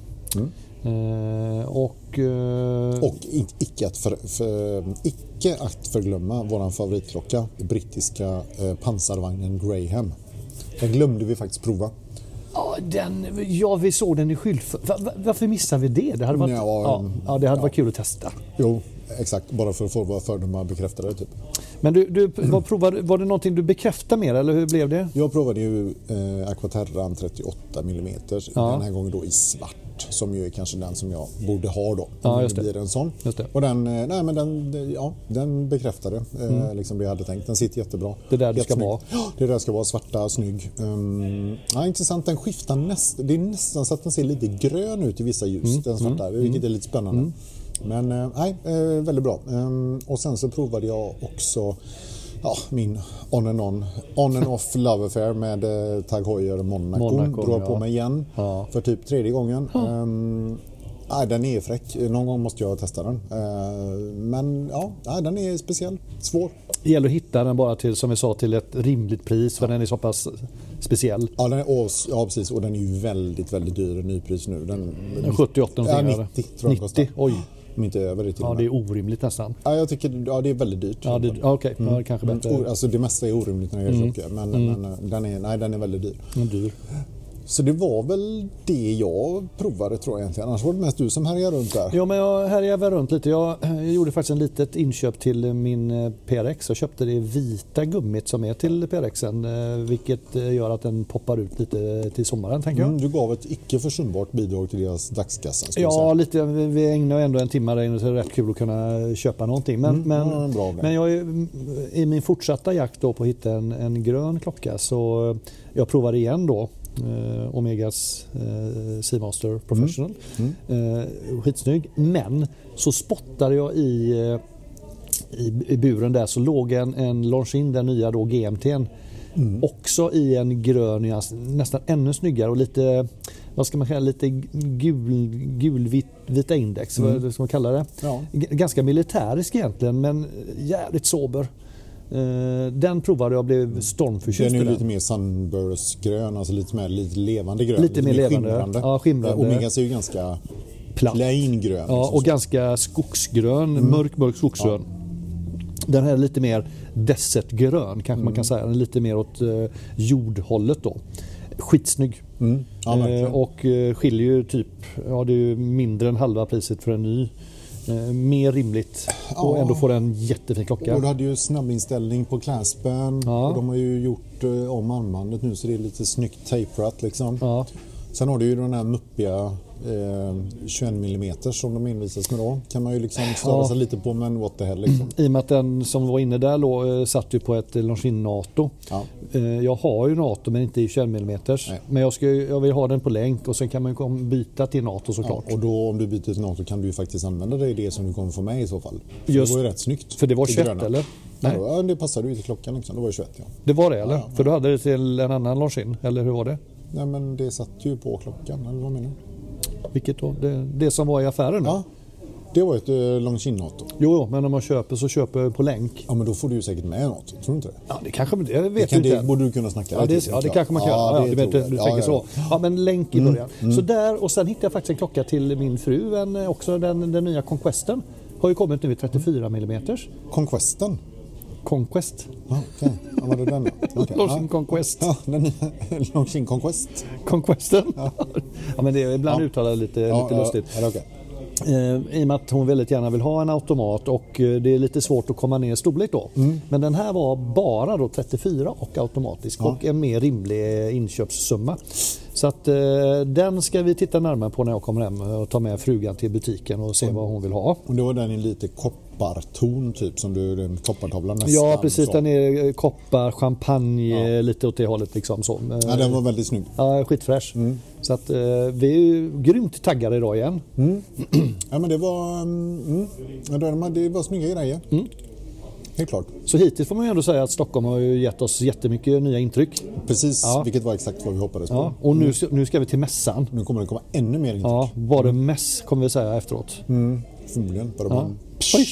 Eh, och... Eh,
Och i- icke att, för, för, icke att förglömma vår favoritklocka, den brittiska eh, pansarvagnen Graham. Den glömde vi faktiskt prova.
Ja, den, ja, vi såg den i skyltfönstret. Va, va, varför missade vi det? Det hade varit,
Ja,
ja,
mm,
ja, det hade varit kul att testa.
Jo, exakt. Bara för att få våra fördomar bekräftade. Typ.
Men du, du
Mm.
vad provade, var det någonting du bekräftade mer eller hur blev det?
Jag provade ju eh, Aquaterran 38 mm. Den här gången då i svart. Som ju är kanske den som jag borde ha då.
Ja,
Om
just det.
blir en sån.
Just det.
Och den, eh, nej, men den, det- ja, den bekräftade eh,
Mm.
liksom det jag hade tänkt. Den sitter jättebra.
Det är där du ska
Jättesnygg.
vara.
Ja, det är där jag ska vara. Svarta, snygg. Ehm, ja, intressant, den skiftar nästan. Det är nästan så att den ser lite grön ut i vissa ljus.
Mm.
Den svarta, vilket är lite spännande. Men eh, nej, eh, väldigt bra. Ehm, och sen så provade jag också Ja, min on and, on, on and off love affair med eh, Tag Heuer Monaco.
Monaco,
Drar
ja.
på mig igen
Ja.
för typ tredje gången. Ehm, nej, den är fräck. Någon gång måste jag testa den. Ehm, men ja, nej, den är speciell. Svår.
Det gäller att hitta den bara till, som vi sa, till ett rimligt pris för den är så pass speciell.
Ja, den är, och, ja, precis. Och den är ju väldigt, väldigt dyr i nypris nu. Den,
78
Mm. ja,
någonting.
90 tror jag den kostar. Mm.
90, oj.
Om inte över det till
Ja,
och
det
med.
är orimligt nästan.
Ja, jag tycker ja, det är väldigt dyrt.
Ja, det, ja, okej. Ja, det kanske är
Mm,
bättre. Mm.
o- Alltså det mesta är orimligt när det gäller klockor, men, men eh, den, är, nej, den är väldigt dyr.
Men dyr.
Så det var väl det jag provade tror jag egentligen. Annars var det mest du som härjade runt där.
Ja, men jag härjade väl runt lite. Jag, jag gjorde faktiskt en litet inköp till eh, min eh, PRX. Jag köpte det vita gummit som är till PRXen, eh, vilket eh, gör att den poppar ut lite eh, till sommaren, tänker jag.
Mm, du gav ett icke försumbart bidrag till deras dagskassa. skulle jag
Ja,
säga.
lite. Vi vi ägnar ändå en timme där inne så det är rätt kul att kunna köpa någonting. Men,
Mm, ja, det är en
men,
bra idé.
men jag är, mm, i min fortsatta jakt då på att hitta en, en grön klocka så eh, jag provar igen då eh, Omegas eh, Seamaster Professional.
Mm,
Eh, skitsnygg. Men så spottade jag i, eh, i, i buren där så låg en, en Longines, den nya då GMT'n.
Mm.
Också i en grön nyans, nästan ännu snyggare och lite, vad ska man kalla lite gul, gulvitt vita index, vad ska man kalla det?
Mm. Ja.
G- ganska militärisk egentligen men jävligt sober. Eh, Den provade jag och blev stormförtjust
Den
i
är ju lite mer sunburst-grön, alltså lite mer lite levande grön.
Lite mer levande.
skimrande.
Ja, skimrande.
Omegas är ju ganska
Platt.
plain grön.
Ja,
liksom
och
så.
ganska skogsgrön, mörk, mörk skogsgrön. Mm. Den här är lite mer desertgrön kanske man kan säga. Den är lite mer åt eh, jordhållet då. Skitsnygg.
Mm. Ja, verkligen.
Eh, och eh, skiljer ju typ, ja det är ju mindre än halva priset för en ny. Eh, mer rimligt och
Ja.
ändå får en jättefin klocka.
Och du hade ju snabbinställning på claspen
Ja.
och de har ju gjort eh, om armbandet nu så det är lite snyggt taperat liksom.
Ja.
Sen har du ju den här muppiga eh, 21 mm som de envisas med då. Kan man ju liksom störa
Ja. Mm,
sig lite på men what the hell liksom.
I och med att den som var inne där låg, eh, satt ju på ett eh, Longines Nato.
Ja.
Eh, Jag har ju Nato men inte i 21 mm.
Nej.
Men jag, ska, ju- jag vill ha den på länk och sen kan man ju kom- byta till Nato
Ja,
såklart.
och då om du byter till NATO kan du ju faktiskt använda dig i det som du kommer få med i så fall. För
Just-
det var ju rätt snyggt.
För det var
Det
21
gröna.
eller?
Ja,
Nej,
då- ja, det passade ju till klockan liksom. Det var ju 21 ja.
det var det eller? För du hade det till en annan Longines, eller hur var det?
Nej men det satt ju på klockan eller vad menar du?
Vilket då? Det, det som var i affären? då?
Ja. Det var ju ett eh, Longines-NATO.
Jo, jo, men om man köper så köper jag på länk.
Ja men då får du ju säkert med något. Tror du inte det?
Ja, det kanske det vet
Det, kan,
jag inte.
det borde du kunna snacka
Ja, det,
till,
ja, det
tycker jag.
kanske man kan göra. Ja, du, vet,
tror
du
jag.
tänker
Ja,
så.
Mm,
Ja, men länk i början. Så där, och sen hittade jag faktiskt en klocka till min fru, en, eh, också den, den nya Conquesten. Har ju kommit nu i 34 mm.
ja. Conquesten?
Conquest.
Ja, Okej, ja, var det den då? Okej,
Longines
ja.
Conquest.
Ja, den- Longines Conquest.
Conquesten. Ja. men det är ibland
Ja.
uttalat lite,
Ja,
lite
ja,
lustigt.
Ja, det är okej.
Eh, I och med att hon väldigt gärna vill ha en automat och eh, det är lite svårt att komma ner i storlek då. Men den här var bara då 34 och automatisk och en mer rimlig eh, inköpssumma. Så att eh, den ska vi titta närmare på när jag kommer hem och tar med frugan till butiken och se vad hon vill ha.
Och det var den i lite kopparton typ som du, den koppartavlan nästan.
Ja precis,
så.
den är eh, koppar, champagne, eh, lite åt det hållet liksom. Så. Eh,
Ja, den var väldigt snygg.
Ja, skitfräsch. Så att eh, vi är ju grymt taggade idag igen.
Ja, men det var, mm, mm, Ja, det var- det var snygga grejer. Mm. Helt klart.
Så hittills får man ju ändå säga att Stockholm har ju gett oss jättemycket nya intryck.
Precis,
Ja.
vilket var exakt vad vi hoppades på.
Ja, och nu, ska- nu ska vi till mässan.
Nu kommer det komma ännu mer intryck.
Ja, var det mäss kommer vi säga efteråt.
Mm. Förmodligen. Bara
Ja.
man-
Oj!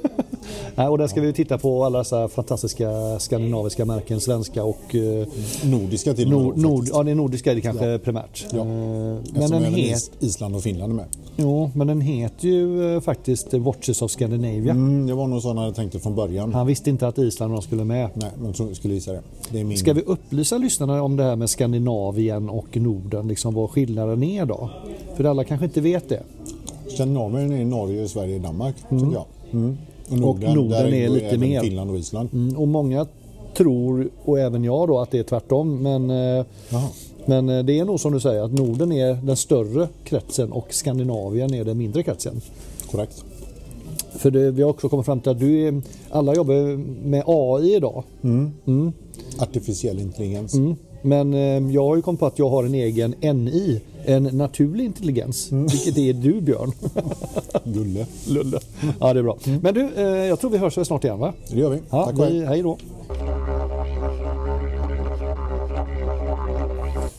Nej, och där ska vi ju titta på alla dessa fantastiska skandinaviska märken, svenska och eh,
Nordiska till och
nord,
med. då,
nord,
faktiskt.
ja, det nordiska är det kanske primärt.
Ja.
Eh, Men,
Eftersom
den
även
het,
Is- Island och Finland är med.
jo, men den heter ju eh, faktiskt Watches of Scandinavia.
Mm, det var nog sådana jag tänkte från början.
Han visste inte att Island och de skulle med.
Nej, men jag skulle gissa det. Det är min...
Ska vi upplysa lyssnarna om det här med Skandinavien och Norden, liksom vad skillnaden är då? För alla kanske inte vet det.
Skandinavien är Norge, Sverige, Danmark, tycker jag. Mm. Och
Norden
där
är
ingår
lite
även
mer.
Finland och Island.
Mm, Och många tror, och även jag då, att det är tvärtom. Men, eh,
Jaha.
men eh, det är nog som du säger att Norden är den större kretsen och Skandinavien är den mindre kretsen.
Korrekt.
För det, vi har också kommit fram till att du är, alla jobbar med AI idag.
Artificiell intelligens.
Mm. Men eh, jag har ju kommit på att jag har en egen NI, en naturlig intelligens. Vilket är du Björn.
Gulle.
Lulle. Ja det är bra. Men du, eh, jag tror vi hörs väl snart igen va?
Det gör vi.
Ja,
Tack och
vi,
hej.
hej då.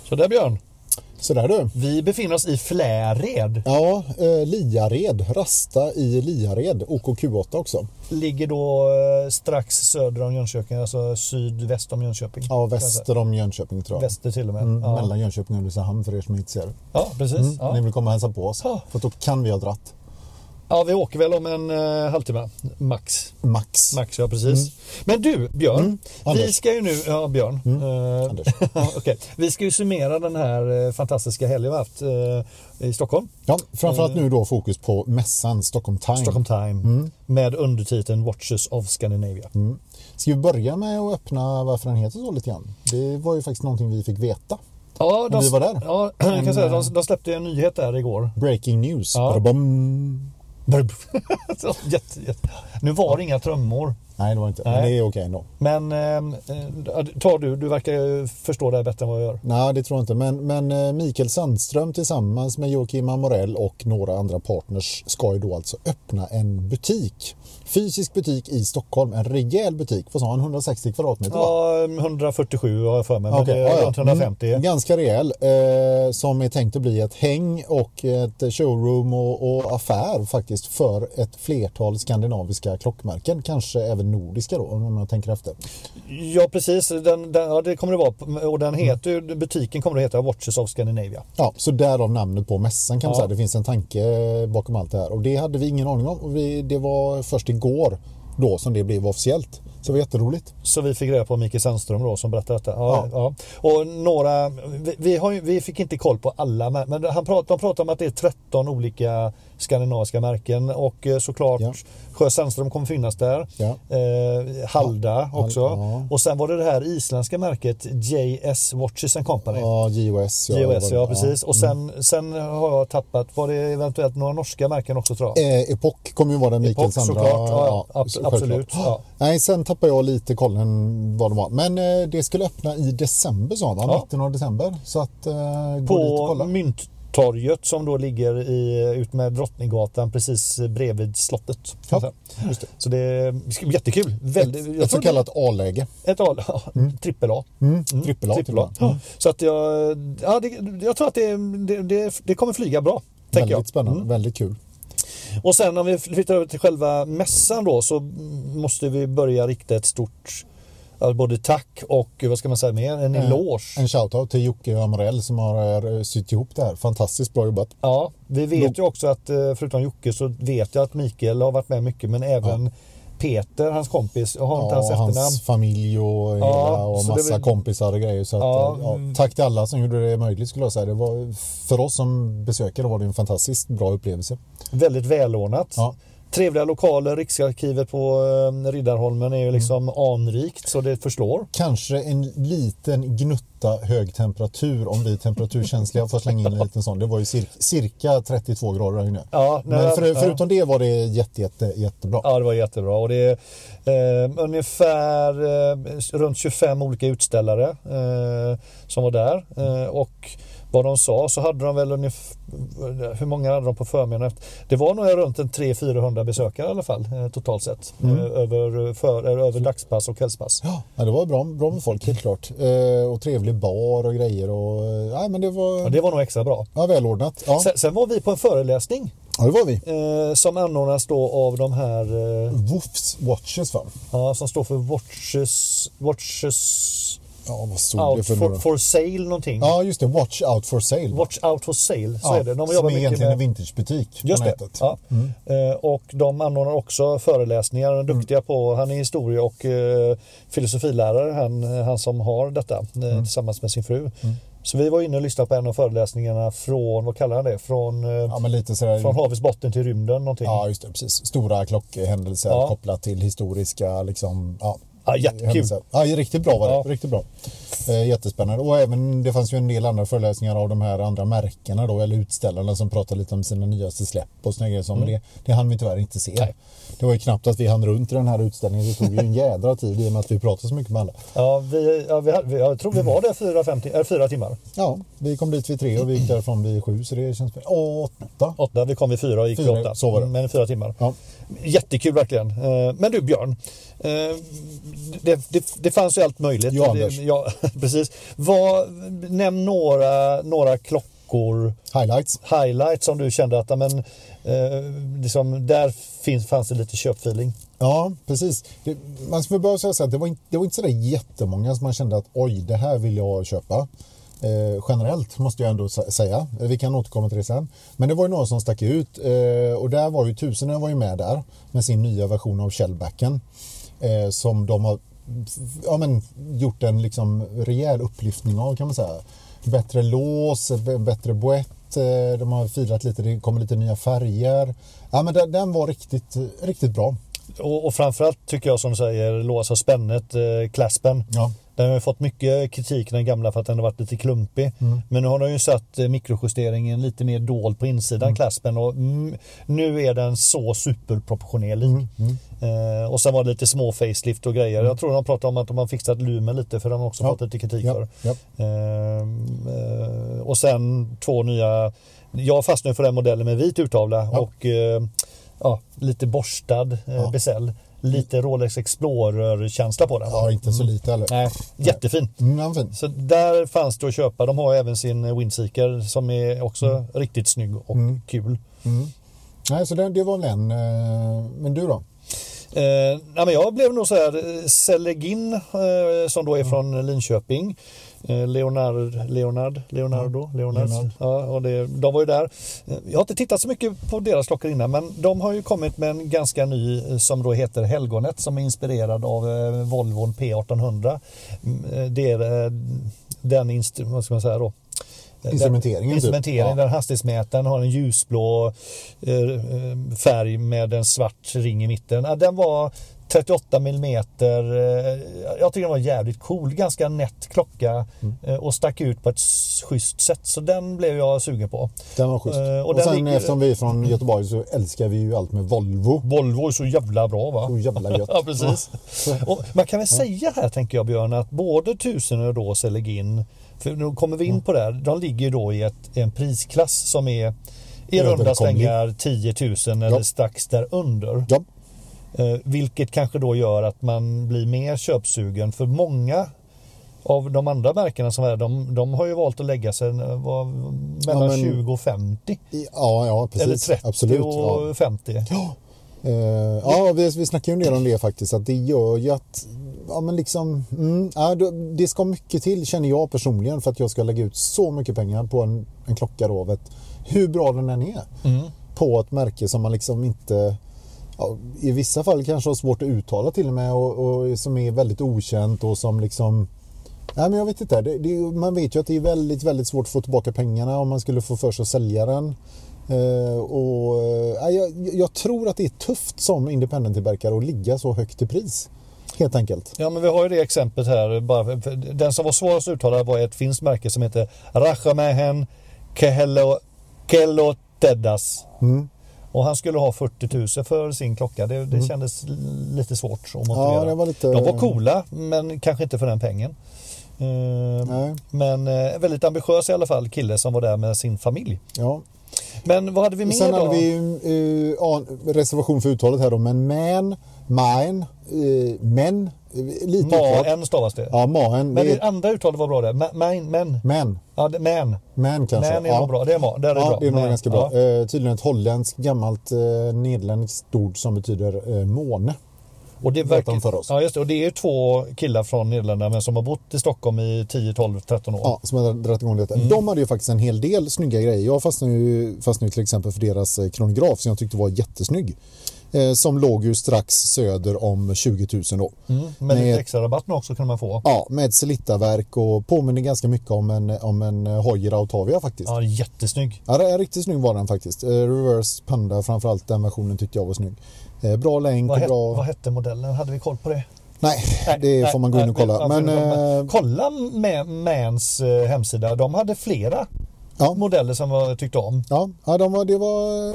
Så där Björn.
Sådär du.
Vi befinner oss i Fläred.
Ja, eh, Liared. Rasta i Liared. OKQ8 också.
Ligger då eh, strax söder om Jönköping, alltså sydväst om Jönköping.
Ja,
kan jag säga.
väster om Jönköping tror jag.
Väster till och med.
Mm,
ja.
Mellan Jönköping och Ulricehamn för er som inte ser.
ja, precis.
Ni
Ja.
vill komma och hälsa på oss.
Ja.
För då kan vi ha dratt.
Ja, vi åker väl om en eh, halvtimme. Max.
Max.
Max, ja precis. Men du, Björn. Vi
Mm. Anders. Mm.
ska ju nu... Ja, Björn. Eh,
Anders.
okej. Vi ska ju summera den här eh, fantastiska helgen vi har haft eh, i Stockholm.
Ja, framförallt nu då fokus på mässan Stockholm Time.
Stockholm Time.
Mm.
Med undertiteln Watches of Scandinavia.
Ska vi börja med att öppna varför den heter så lite grann? Det var ju faktiskt någonting vi fick veta.
Ja,
vi var där.
Ja, jag kan säga, att de, de släppte en nyhet där igår.
Breaking news.
Ja.
Badabom.
Så, jätte, jätte. Nu var det inga trummor.
Nej, det var inte.
Nej.
Men det är okej ändå.
Men ehm, eh, ta du, du verkar ju förstå det här bättre än vad jag gör.
Nej, det tror jag inte. Men, men eh, Mikael Sandström tillsammans med Joakim Amorell och några andra partners ska ju då alltså öppna en butik. Fysisk butik i Stockholm. En rejäl butik. Vad sa han? 160 kvadratmeter? va?
Ja, 147 har jag för mig. Men
Okej,
det
ja,
är
ja.
runt 150.
Mm, ganska rejäl. Eh, som är tänkt att bli ett häng och ett showroom och, och affär faktiskt för ett flertal skandinaviska klockmärken. Kanske även nordiska då om man tänker efter.
Ja, precis. Den, den, ja, det kommer det vara. Och
Mm.
den heter, ju- butiken kommer att heta Watches of Scandinavia.
Ja, så därav namnet på mässan kan man
Ja.
säga. Det finns en tanke bakom allt det här och det hade vi ingen aning om. Och vi, det var först igår då som det blev officiellt. Så det var jätteroligt.
Så vi fick reda på Mikael Sandström då som berättade detta. Ja, ja.
Ja.
Och några, vi, vi, har ju, vi fick inte koll på alla men men han prat, de pratar om att det är 13 olika skandinaviska märken och eh, såklart
Ja.
Sjö Sandström kommer finnas där.
Ja.
Eh, Halda
Ja,
också.
ja.
Och sen var det det här isländska märket JS Watches and Company.
Ja, GOS.
JOS,
det var
ja
det. Mm.
precis. Och sen, sen har jag tappat, var det eventuellt några norska märken också tror jag?
Eh, Epoch kommer ju vara den Mikael
Epoch,
Sandra.
såklart. Ja, ja, abs-
självklart.
absolut, ja.
Nej, sen tappar jag lite kollen vad de var. Men eh, det skulle öppna i december sa han,
Ja.
mitten av december. Så att eh, gå dit och
på Mm,
kolla.
Mynttorget som då ligger i, ut med Drottninggatan precis bredvid slottet.
Ja, just det.
Så det är jättekul. Väldigt, jag
Ett, ett så
tror-
kallat A-läge.
Ett A, ja, trippel A.
Mm. Trippel A.
Trippel A. Ja, Så att jag, ja, det, jag tror att det, det, det, det kommer flyga bra. Tänker
Väldigt
jag. Mm.
spännande, väldigt kul.
Och sen om vi flyttar över till själva mässan då så måste vi börja rikta ett stort ja, både tack och vad ska man säga mer? En eloge.
Eh, En shoutout till Jocke Amorell som har eh, sytt ihop det här. Fantastiskt bra jobbat.
Ja, vi vet
Nog.
ju också att eh, förutom Jocke så vet jag att Mikael har varit med mycket men även Peter, hans kompis, jag har inte hans
och
efternamn.
hans familj och, hela,
Ja,
och
så det
massa
var-
kompisar och grejer. Så att,
Ja,
eh, ja,
mm.
tack till alla som gjorde det möjligt skulle jag säga. Det var, för oss som besökare var det en fantastiskt bra upplevelse.
Väldigt välordnat.
Ja.
Trevliga lokaler, Riksarkivet på eh, Riddarholmen
Mm.
är ju liksom anrikt så det förslår.
Kanske en liten gnutta hög temperatur om vi är temperaturkänsliga får slänga in en liten sån. Det var ju cirka, cirka 32 grader här inne.
Ja, nej,
Men för,
ja.
förutom det var det jätte, jätte, jättebra.
Ja, det var jättebra. Och det är eh, ungefär eh, runt 25 olika utställare eh, som var där. Eh, och vad de sa så hade de väl ungefär, hur många hade de på förmiddagen? efter? Det var nog runt en 300-400 besökare i alla fall eh, totalt sett. Eh, över, för, eh, över dagspass och kvällspass.
Mm. Ja, ja, det var bra, bra med folk helt klart. Eh, och trevlig bar och grejer. Och, eh, nej, men det var
Och det var nog extra bra.
ja, välordnat. Ja.
Sen, sen var vi på en föreläsning
ja, det var vi.
eh, som anordnas då av de här
Mm.
eh,
Woofs Watches va?
ja, som står för Watches, Watches
Ja, vad stod Mm, det
Out
för, nu
for,
då?
for Sale någonting.
Ja, just det. Watch out for sale.
Watch Out for Sale, så
ja,
är det. De
som
jobbar
är
mycket
egentligen
med...
en Mm. vintagebutik. på
Just det.
nätet.
Ja. Eh, Och de anordnar också föreläsningar. De
Mm.
är duktiga på, han är historie och eh, filosofilärare, han, han som har detta eh,
Mm.
tillsammans med sin fru. Så vi var inne och lyssnade på en av föreläsningarna från, vad kallar han det, från, eh,
Ja, men lite sådär.
från havets botten till rymden någonting.
Ja, just det. Precis. Stora klockhändelser
Mm. Ja.
kopplat till historiska liksom, ja,
Ja, jättekul.
händelser. Ja, riktigt bra var det.
Ja.
Riktigt bra. Eh, jättespännande. Och även, det fanns ju en del andra föreläsningar av de här andra märkena då, eller utställarna som pratade lite om sina nyaste släpp och såna grejer. som- Men det, det hann vi tyvärr inte se.
Mm. Nej.
Det var ju knappt att vi hann runt i den här utställningen. Det tog ju en jädra tid i och med att vi pratade så mycket med alla.
Ja, vi, ja, vi, hade- vi, jag tror vi var där fyra, fem, ti- eller fyra timmar.
Ja, vi kom dit vid tre och vi gick därifrån vid sju, så det känns... Åh, åtta.
Åtta, vi kom vid fyra och gick vid
Fyra,
åtta. Mm,
så var det.
Men fyra timmar.
Ja.
Jättekul verkligen. Eh, Men du Björn, eh, det, det, det fanns ju allt möjligt.
Ja,
det,
Anders.
ja precis. Vad, nämn några, några klockor,
Highlights.
highlights som du kände att ja, men, eh, liksom, där finns, fanns det lite köpfeeling.
Ja, precis. Det, man ska väl börja säga så här, det var, inte, det var inte så där jättemånga som man kände att oj, det här vill jag köpa. Eh, generellt måste jag ändå sä- säga. Eh, Vi kan återkomma till det sen. Men det var ju några som stack ut eh, och där var ju Tusenö var ju med där med sin nya version av Shellbacken eh, som de har ja, men, gjort en liksom rejäl upplyftning av kan man säga. Bättre lås, b- bättre boett, eh, de har filat lite, det kommer lite nya färger. Ja, men den, den var riktigt, riktigt bra.
Och, och framförallt tycker jag som säger låsa spännet, eh, klaspen.
Ja.
Den har ju fått mycket kritik den gamla för att den har varit lite klumpig. Men nu har de ju satt eh, mikrojusteringen lite mer dold på insidan klaspen och mm, nu är den så superproportionerlig.
Mm.
Eh, och sen var det lite små facelift och grejer. Jag tror de pratade om att de har fixat lumen lite för de har också
Ja.
fått lite kritik
Ja,
för.
ja.
Ehm, eh, och sen två nya. Jag fastnade för den modellen med vit urtavla
Ja.
och eh, ja, lite borstad eh,
Ja.
bezel. Lite Rolex Explorer-känsla på den.
Ja, inte så lite heller.
Nej, jättefin.
Mm, den var fin.
Så där fanns det att köpa. De har ju även sin Windseeker som är också riktigt snygg och kul.
Mm. Nej, så det, det var väl en. eh, Men du då?
Eh, nej, men jag blev nog så här, eh, Selegin eh, som då är från Linköping. Eh, Leonard, Leonard, Leonardo, Leonards.
Leonard.
Ja, och det, de var ju där. Eh, Jag har inte tittat så mycket på deras klockor innan men de har ju kommit med en ganska ny eh, som då heter Helgonet som är inspirerad av eh, Volvon P1800. Mm, eh, Det är eh, den, instru- vad ska man säga då? Eh,
Instrumenteringen
den,
typ.
instrumenteringen
Ja.
där hastighetsmätaren har en ljusblå eh, eh, färg med en svart ring i mitten. Ja, Den var 38 millimeter. eh, Jag tycker den var jävligt cool. Ganska nätt klocka eh, och stack ut på ett s- schysst sätt. Så den blev jag sugen på.
Den var schysst.
Eh, och
och
den
sen
ligger-
eftersom vi är från Göteborg så älskar vi ju allt med Volvo.
Volvo är så jävla bra va?
Så jävla gött.
Ja, precis. Och man kan väl säga här, tänker jag Björn, att både Tusenö och då Selegin, för nu kommer vi in på det här, de ligger ju då i ett, en prisklass som är i runda
Överkomlig.
slängar 10 000 eller
Ja.
strax därunder.
Ja.
Eh, vilket kanske då gör att man blir mer köpsugen för många av de andra märkena som är, de, de har ju valt att lägga sig eh, vad, mellan
Ja, men-
20 och 50.
I- ja, ja, precis.
Eller 30
Absolut.
och
Ja.
50.
Eh, ja, vi, vi snackar ju en del om det faktiskt. Att det gör ju att... Ja, men liksom, mm, ja, då- det ska mycket till känner jag personligen för att jag ska lägga ut så mycket pengar på en, en klocka då, vet, hur bra den än är. På ett märke som man liksom inte... Ja, I vissa fall kanske har svårt att uttala till och med och, och som är väldigt okänt och som liksom... Nej, men jag vet inte. Det, det, är ju- man vet ju att det är väldigt, väldigt svårt att få tillbaka pengarna om man skulle få för sig att sälja den. Eh, och, eh, jag, jag tror att det är tufft som independent-tillverkare att ligga så högt i pris. Helt enkelt.
Ja men vi har ju det exemplet här. Bara för, för, den som var svårast att uttala var ett finskt märke som heter Rachamähen Kehelo, Kello Teddas.
Mm.
Och han skulle ha 40 000 för sin klocka. Det, det kändes lite svårt att motivera.
Ja, det var lite...
De var coola men kanske inte för den pengen. Eh,
Nej,
Men eh, väldigt ambitiös i alla fall kille som var där med sin familj.
ja.
Men vad hade vi mer
Sen
då?
hade vi ju eh, ja, reservation för uttalet här då, men man, mine, eh, men, eh, lite oklart.
Maen stavas det.
Ja, maen.
men det
det är,
andra uttalet var bra där. Ma- Men, men.
men,
Ja, det- men.
men kanske.
Men är
Alltså, ja.
nog bra. Det är ma. Där är
ja,
bra.
det är nog
Men.
ganska
Ja.
bra. Eh, tydligen ett holländskt gammalt eh, nederländskt ord som betyder eh, måne.
Och det,
Berätta
verkar,
om för oss.
Ja, just det. Och det är ju två killar från Nederländerna men som har bott i Stockholm i 10, 12, 13 år.
Ja, som har dragit igång
Mm.
detta. De hade ju faktiskt en hel del snygga grejer. Jag fastnade ju, fastnade ju till exempel för deras eh, kronograf som jag tyckte var jättesnygg. Eh, som låg ju strax söder om 20 000 då.
Mm, men
Nej.
lite extra rabatt nu också kunde man få.
Ja, med ett slittaverk och påminner ganska mycket om en, om en eh, Hoyer Autavia faktiskt.
Ja, jättesnygg.
Ja, det är riktigt snygg var den faktiskt. Eh, reverse Panda, framförallt den versionen tyckte jag var snygg. Eh, bra länk
Vad,
och
het,
bra...
vad hette modellen? Hade vi koll på det?
Nej,
Nej,
det
nej,
får man gå in
nej,
och kolla.
ja,
Men,
för de-
eh,
kolla med Mans eh, hemsida. De hade flera
ja.
modeller som jag tyckte om.
Ja, ja de var, det var...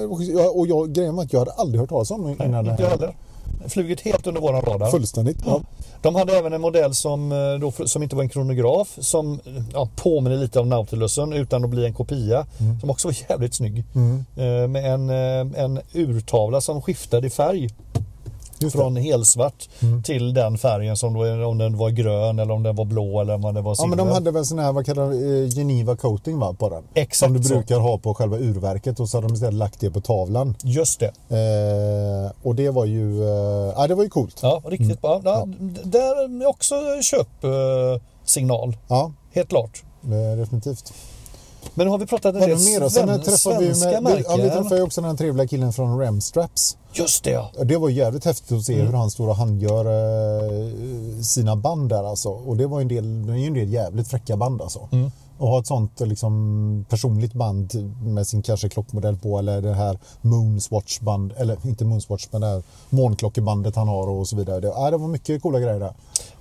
ja, Och jag, grejen var att jag hade aldrig hört talas om dem innan det
Inte jag heller. Flugit helt under våran radar.
Fullständigt. Ja.
De hade även en modell som, eh, då, som inte var en kronograf som eh, ja, påminner lite om Nautilusen utan att bli en kopia.
Mm.
Som också var jävligt snygg. Eh, Med en, eh, en urtavla som skiftade i färg.
Just
Från helsvart till den färgen som då, är- om den var grön eller om den var blå eller om den var
Ja,
silver.
men de hade väl sån här, vad kallar det, eh, Geneva coating va, på den?
Exakt
Som du
så.
brukar ha på själva urverket och så hade de istället lagt det på tavlan.
Just det.
Eh, och det var ju, eh, ja det var ju coolt. Mm. Ja.
Ja, riktigt bra. Ja, d- Där är också köpsignal. eh, Helt klart.
eh, definitivt.
Men har vi pratat en
Vad är
del
det mer då? Sen
sven,
träffade vi,
svenska
ju med, vi, ja, vi träffade
märken?
ju också den här trevliga killen från Remstraps.
Just det ja.
Ja, Det var jävligt häftigt att se
Mm.
hur han står och handgör eh, sina band där alltså. Och det var ju en del, det är ju en del jävligt fräcka band alltså.
Mm.
Och ha ett sånt eh, liksom, personligt band med sin kanske klockmodell på eller det här Moonswatch-band, eller inte Moonswatch men det här månklockebandet han har och så vidare. Det, ja, det var mycket coola grejer där.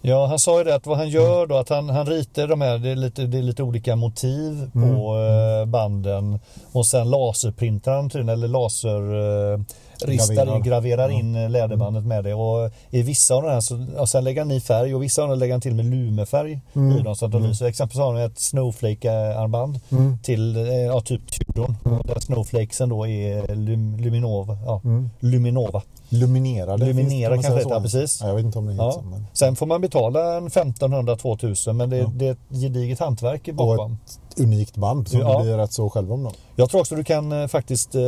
Ja, han sa ju det att vad han
Mm.
gör då, att han, han ritar de här, det är lite, det är lite olika
Mm.
motiv på eh, banden och sen laserprintar han tydligen, eller laser eh, ristar,
Graverar. Mm.
in, graverar in eh, läderbandet med det och i vissa av de här så, och sen lägger han i färg och vissa av dem lägger han till med lumefärg
Mm.
i dem så att de lyser. Exempelvis har han ett Snowflake-armband till, eh, ja typ Tudorn,
Mm.
där Snowflakesen då är lum, Luminova, ja, Luminova.
Mm. Luminerade.
Luminera
finns- kan man
kanske
säga
heter
så?
det, precis.
Ja, jag vet inte om det heter
Ja.
så. Men...
Sen får man betala en 1500-2000 men det, det är ett gediget hantverk
Och
bakom.
ett unikt band som
Ja.
du blir rätt så själv om då.
Jag tror också du kan eh, faktiskt eh,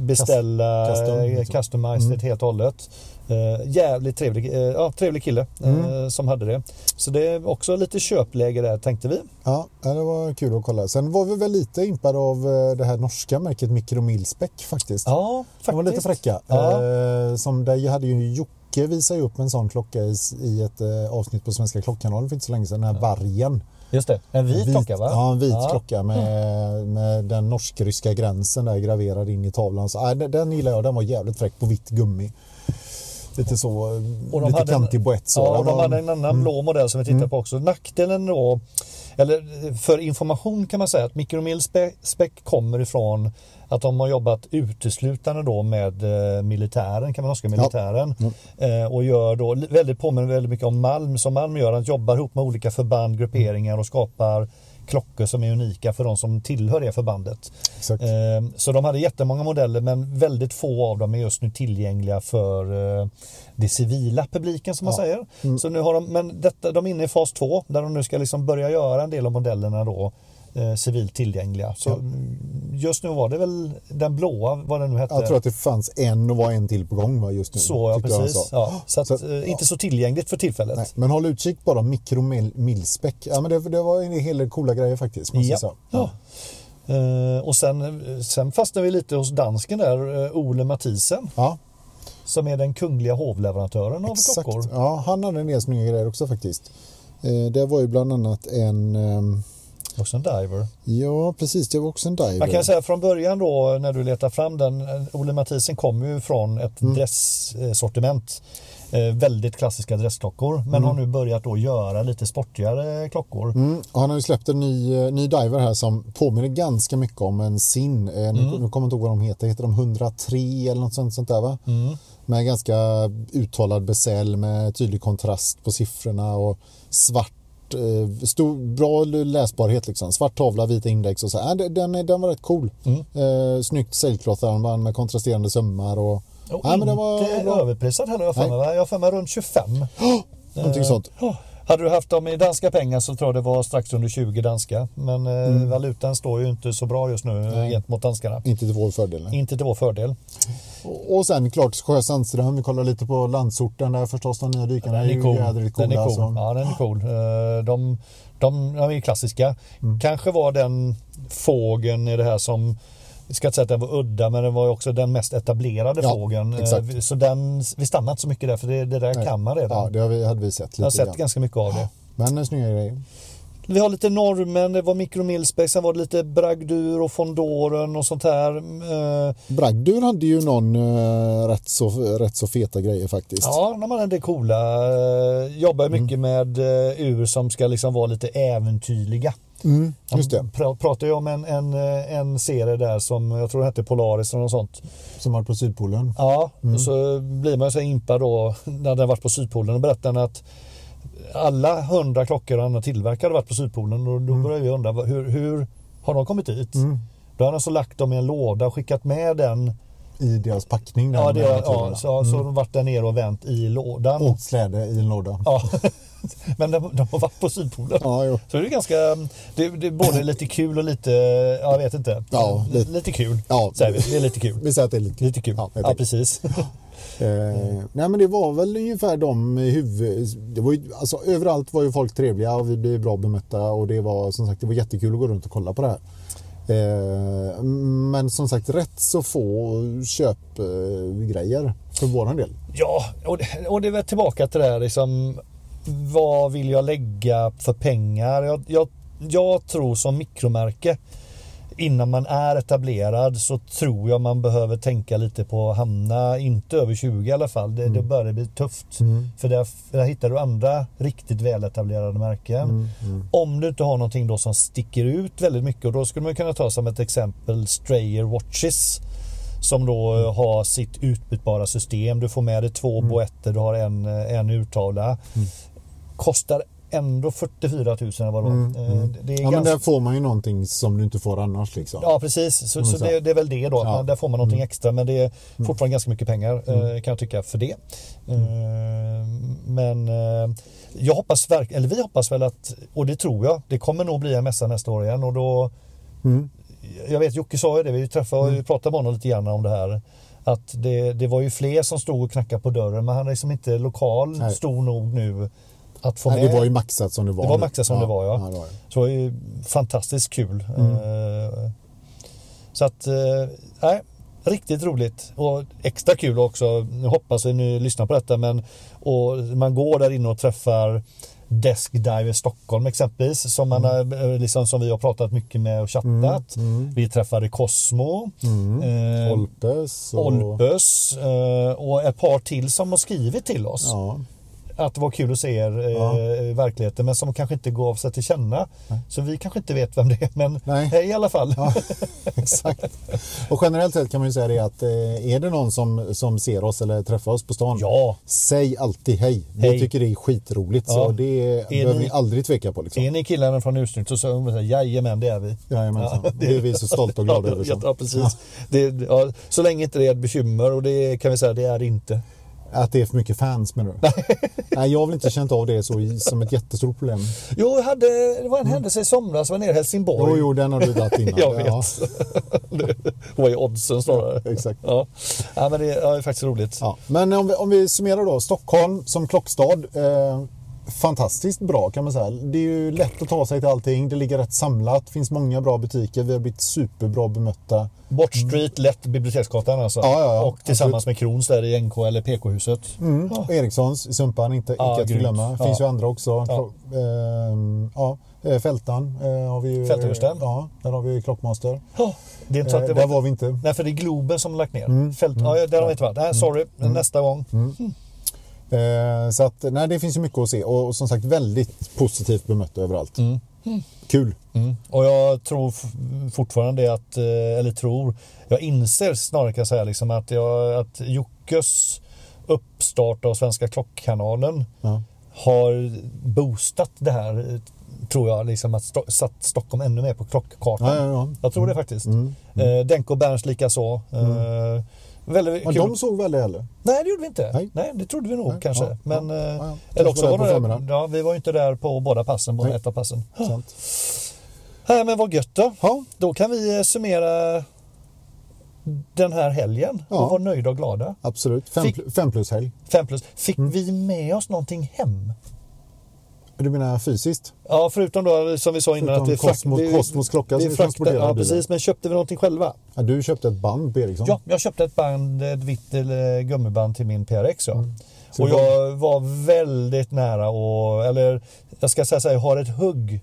beställa
Custom,
custom, Mm.
liksom.
customized helt och hållet. Eh, jävligt trevlig, eh, ja, trevlig kille eh, som hade det. Så det är också lite köpläge där tänkte vi.
Ja, ja, det var kul att kolla. Sen var vi väl lite impade av eh, det här norska märket Mikromilspec faktiskt.
Ja, faktiskt.
De var lite fräcka.
Ja.
Eh, som där hade ju Jocke visade ju upp en sån klocka i, i ett eh, avsnitt på Svenska Klockkanalen för inte så länge sedan. Den här vargen.
Just det, en vit, klocka va?
Ja, en vit
Ja. Mm.
klocka med, med den norsk-ryska gränsen där graverad in i tavlan. Så, nej, den, den gillar jag, den var jävligt fräck på vitt gummi. Lite så, eh,
Och de
lite
hade en-
kantig boett så.
Ja, och de
Ja,
hade en annan blå modell som vi tittar på också. Nackdelen då, eller för information kan man säga att mikromilspec kommer ifrån att de har jobbat uteslutande då med eh, militären, kan man norska militären. Eh, och gör då, li- väldigt påminner väldigt mycket om Malm som Malm gör, att jobbar ihop med olika förband, grupperingar och skapar klockor som är unika för de som tillhör det förbandet.
Exakt.
Eh, Så de hade jättemånga modeller men väldigt få av dem är just nu tillgängliga för eh, det civila publiken som man
Ja. Mm.
säger. Så nu har de, men detta, de är inne i fas 2 där de nu ska liksom börja göra en del av modellerna då eh, civilt tillgängliga. Så mm, just nu var det väl den blåa, vad den nu hette.
Jag tror att det fanns en och var en till på gång va, just nu.
så, ja
tyckte jag han
precis.
sa.
Ja, så att,
Så-
eh, inte så tillgängligt för tillfället.
Nej, men håll utkik bara, mikromilspäck. Ja, men det, det var en hel del coola grejer faktiskt. Måste
Ja.
jag säga.
Ja. Eh, och sen, sen fastnade vi lite hos dansken där, eh, Ole Mathisen,
ja,
som är den kungliga hovleverantören av
exakt.
klockor.
Ja, han hade en del snygga grejer också faktiskt. Eh, det var ju bland annat en... ehm,
Också en diver.
ja, precis, det var också en diver.
Man kan säga från början då när du letar fram den, eh, Ole Mathisen kom ju från ett
Mm.
dresssortiment. Eh, väldigt klassiska dressklockor men har nu börjat då göra lite sportigare klockor.
Mm, och han har ju släppt en ny, eh, ny diver här som påminner ganska mycket om en sin. Eh,
Mm.
nu, nu kommer jag inte ihåg vad de heter. Heter de 103 eller något sånt, sånt där va?
Mm.
Med ganska uttalad besäll med tydlig kontrast på siffrorna och svart, eh, stor, bra läsbarhet liksom. Svart tavla, vita index och så. Äh, den, den, är- den var rätt cool. Mm. Eh, snyggt sailcloth-armband med kontrasterande sömmar och...
Och
Ja, men
inte
det var bra.
överprisat heller, jag har för mig,
Nej.
va? Jag har för mig runt 25.
Någonting sånt.
Ja. Hade du haft dem i danska pengar så tror jag det var strax under 20 danska. Men eh,
Mm.
valutan står ju inte så bra just nu eh, gentemot danskarna.
Inte till vår fördel. nej.
Inte till vår fördel.
Och och sen klart Sjö Sandström, vi kollar lite på landsorten där förstås, de nya dykarna
Den är
ju
cool.
jädrigt
Den är
coola.
cool.
Alltså.
Ja, den är cool. Eh, De, de, de är klassiska.
Mm.
Kanske var den fågeln i det här som jag ska inte säga att den var udda men den var ju också den mest etablerade
Ja,
fågeln. Eh,
exakt.
vi- Så den, vi stannar inte så mycket där för det, det där
Nej.
kan man redan.
Ja, det har vi, hade vi sett
jag har
lite
sett
grann.
ganska mycket av det.
Men eh, en snygg grej.
Vi har lite norrmän, det var mikromilspex, sen var det lite bragdur och fondoren och sånt här. Eh,
Bragdur hade ju någon eh, rätt, så, rätt så feta grejer faktiskt.
Ja, när man är det coola. eh, Jobbar
Mm.
ju mycket med eh, ur som ska liksom vara lite äventyrliga.
Mm, just det,
Pra- pratar ju om en, en, eh, en serie där som jag tror den hette Polaris eller något sånt. Mm.
som var på Sydpolen.
Ja, och så blir man ju så impad då när den varit på Sydpolen och berättar den att alla hundra klockor han har tillverkat har varit på Sydpolen och då börjar vi undra vad- hur, hur har de kommit dit? Då har han alltså lagt dem i en låda och skickat med den.
I deras packning där
Ja, det,
med
ja, Mm. Oh.
naturerna.
så, så har de varit där nere och vänt i lådan.
Och släde i en låda.
Ja. Men de, de har varit på Sydpolen.
Ja, jo.
Så det är ganska, det, det är både lite kul och lite, ja, jag vet inte.
Ja,
lite,
lite-
lite kul,
Ja.
säger vi. Det är lite kul.
Vi säger att det är lite kul.
Lite kul,
Ja,
ja,
jag tänkte.
precis.
Eh, Nej men det var väl ungefär de huvud... Det var ju, alltså, överallt var ju folk trevliga och vi blev bra bemötta och det var som sagt det var jättekul att gå runt och kolla på det här. Eh, Men som sagt rätt så få köpgrejer för vår del.
Ja, och det, och det är väl tillbaka till det här liksom. Vad vill jag lägga för pengar? Jag, jag, jag tror som mikromärke innan man är etablerad så tror jag man behöver tänka lite på att hamna inte över 20 i alla fall. Det,
Mm.
Då börjar det bli tufft. För där, där hittar du andra riktigt väletablerade märken.
Mm.
Om du inte har någonting då som sticker ut väldigt mycket och då skulle man kunna ta som ett exempel Strayer Watches. Som då
Mm.
eh, har sitt utbytbara system. Du får med dig två boetter, du har en, eh, en urtavla.
Mm.
Kostar ändå 44 000 eller vad det var. Eh, Det är
Mm. Ja, men
ganska...
där får man ju någonting som du inte får annars liksom.
Ja precis, så, så
så.
det, det är väl det då.
Ja. Mm.
Man- Där får man någonting extra men det är fortfarande ganska mycket pengar eh, kan jag tycka för det.
Mm.
Eh, Men eh, jag hoppas verk- eller vi hoppas väl att, och det tror jag, det kommer nog bli en mässa nästa år igen och då
Mm.
Jag vet Jocke sa ju det, vi träffade och vi pratade med honom lite grann om det här. Att det, det var ju fler som stod och knackade på dörren men han är liksom inte lokal
Nej.
stor nog nu att få
Nej,
med.
det var ju maxat som det var.
Det var
nu.
maxat som det var, ja.
det var det.
Så det var ju fantastiskt kul.
Mm.
Eh, Så att, eh, nej, riktigt roligt och extra kul också. Jag hoppas att ni lyssnar på detta men och man går där inne och träffar Desk Diver Stockholm exempelvis som, man
Mm.
har, eh, liksom, som vi har pratat mycket med och chattat. Vi träffade Cosmo, eh,
Mm. Olpes och...
Olpus eh, och ett par till som har skrivit till oss
Ja.
att det var kul att se er eh,
Ja.
i verkligheten men som kanske inte gav sig till känna. Så vi kanske inte vet vem det är men
Nej.
hej i alla fall.
Ja, exakt. Och generellt sett kan man ju säga det att eh, är det någon som, som ser oss eller träffar oss på stan.
Ja.
Säg alltid hej. Vi
Hej.
tycker det är skitroligt så
Ja.
det behöver
ni-
ni aldrig tveka på. Liksom.
Är ni killarna från Ursnyggt så säger de så här, jajamän det är vi.
Jajamensan. det är vi så stolta och glada
ja,
över.
ja,
liksom. så.
ja, precis. Det, ja, så länge inte det är ett bekymmer och det kan vi säga det är det inte.
Att det är för mycket fans menar du? Nej, jag har väl inte känt av det så, i- som ett jättestort problem.
Jo, jag hade, det var en händelse i somras, jag var nere i Helsingborg.
Mm. Jo, jo, den har du dragit innan.
Jag vet.
Ja,
Det var ju oddsen snarare.
exakt.
Ja. ja, men det, ja, det är faktiskt roligt.
Ja, men om vi, om vi summerar då, Stockholm som klockstad. Eh, fantastiskt bra kan man säga. Det är ju lätt att ta sig till allting. Det ligger rätt samlat. finns många bra butiker. Vi har blivit superbra bemötta.
Bort Street, lätt Biblioteksgatan alltså.
Mm. Ja, ja, ja.
Och tillsammans med Krons där i NK eller PK-huset.
Mm. Och Erikssons i Sumpan, inte,
Ja,
inte att
grymt.
glömma.
Ja.
finns ju andra också.
Ja.
Ja. Ehm, ja. eh, Fältan eh, har vi ju.
Fälthusten.
Ja, där har vi ju Klockmaster.
Ja, det är inte så
Eh,
att det
där
var...
var vi inte.
Nej, för det är Globen som lagt ner.
Mm.
Fält... Ja, där har vi inte varit. Nej, sorry. Nästa gång.
Eh, så att, nej, det finns ju mycket att se. Och, och som sagt, väldigt positivt bemötta överallt. Kul.
Mm. Och jag tror f- fortfarande att, eh, eller tror, jag inser snarare kan jag säga liksom att, jag, att Jockes uppstart av Svenska Klockkanalen
Ja.
har boostat det här, eh, tror jag, liksom att sto- satt Stockholm ännu mer på klockkartan.
Ja, Mm. ja, ja.
Jag tror det faktiskt. Eh, Denko Berns likaså. Eh, väldigt
Mm. Men
kul.
de såg väl det heller?
Nej, det gjorde vi inte.
Nej.
Nej, det trodde vi nog
Nej,
kanske.
ja,
Men,
ja,
eh,
ja, ja. Kanske
Eller också
var
var
där på
det,
förmiddagen.
ja, vi var ju inte där på båda passen, bara
Nej.
ett av passen.
Sant.
Nej, men vad gött då.
Ja,
Då kan vi eh, summera den här helgen
Ja.
och vara nöjda och glada.
Absolut. Fem,
Fick-
pl- fem plus helg.
Fem plus. Fick
Mm.
vi med oss någonting hem?
Du menar fysiskt?
Ja, förutom då som vi sa innan
Förutom
att vi frakt-
Cosmos-
vi-
Cosmos klocka
vi
som
fraktar-
vi transporterar i
Ja,
bilen.
precis. Men köpte vi någonting själva?
Ja, du köpte ett band på Ericsson.
Ja, jag köpte ett band, ett vitt eh, gummiband till min PRX. Ja.
Mm. Så
Och
det var-
jag var väldigt nära och, eller jag ska säga så här, jag har ett hugg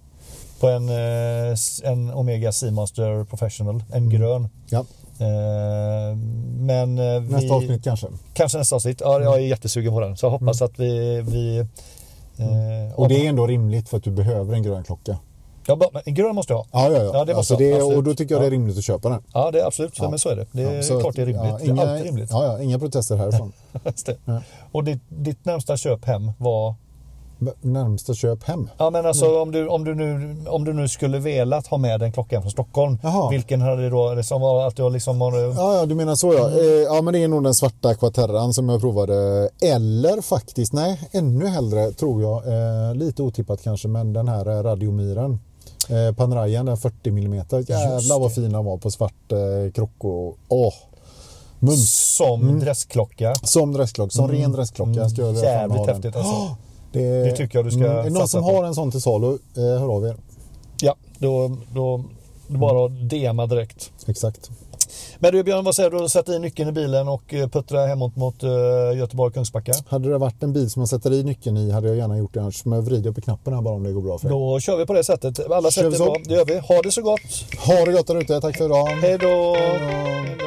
på en, eh, s- en Omega Seamaster Professional,
Mm.
en grön.
Ja,
Eh, Men eh, vi,
nästa avsnitt kanske.
Kanske nästa avsnitt. Ja, jag är jättesugen på den. Så jag hoppas att vi... vi eh,
Mm. Och det är ändå rimligt för att du behöver en grön klocka.
ja, bara- en grön måste jag ha.
Ja, ja, ja.
Ja, det måste
alltså, det är,
absolut.
och då tycker jag det är
Ja.
rimligt att köpa den.
Ja, det är absolut.
Ja.
Men så är det. Det
Ja,
är
så att-
klart det är rimligt.
Ja,
det är alltid rimligt.
Ja, ja, inga protester härifrån.
Just det.
Ja.
Och ditt, ditt närmsta köp hem var?
B- Närmsta köp hem.
Ja men alltså
Mm.
om, du, om, du nu, om du nu skulle velat ha med den klockan från Stockholm.
Jaha.
Vilken hade det då som var att du liksom har...
Ja, ja, du menar så ja.
Mm.
Eh, Ja, men det är nog den svarta Quaterran som jag provade. Eller faktiskt, nej, ännu hellre tror jag. Eh, lite otippat kanske, men den här eh, radiomiren. Eh, Panrajen, den 40 mm. Jävlar vad fin den var på svart eh, krocko. Åh! Mums.
Som dressklocka.
Som dressklocka, Mm. som ren dressklocka. Ska jag vilja
Mm. Jävligt
framhålla.
häftigt alltså.
Det,
Det tycker jag du ska
Är det någon
satsa
som
på.
har en sån till salu, eh, hör av er.
Ja, då, då det är bara
Mm.
att DMa direkt.
Exakt.
Men du Björn, vad säger du? Sätt i nyckeln i bilen och eh, puttra hemåt mot eh, Göteborg Kungsbacka.
Hade det varit en bil som man sätter i nyckeln i hade jag gärna gjort det annars. Men jag vrider upp i knappen här bara om det går bra för er.
Då kör vi på det sättet. Alla sätt
Kör vi
är
så?
bra. Det gör vi. Ha det så gott.
Ha det gott där ute. Tack för idag.
Hej då.
då.
Hej då.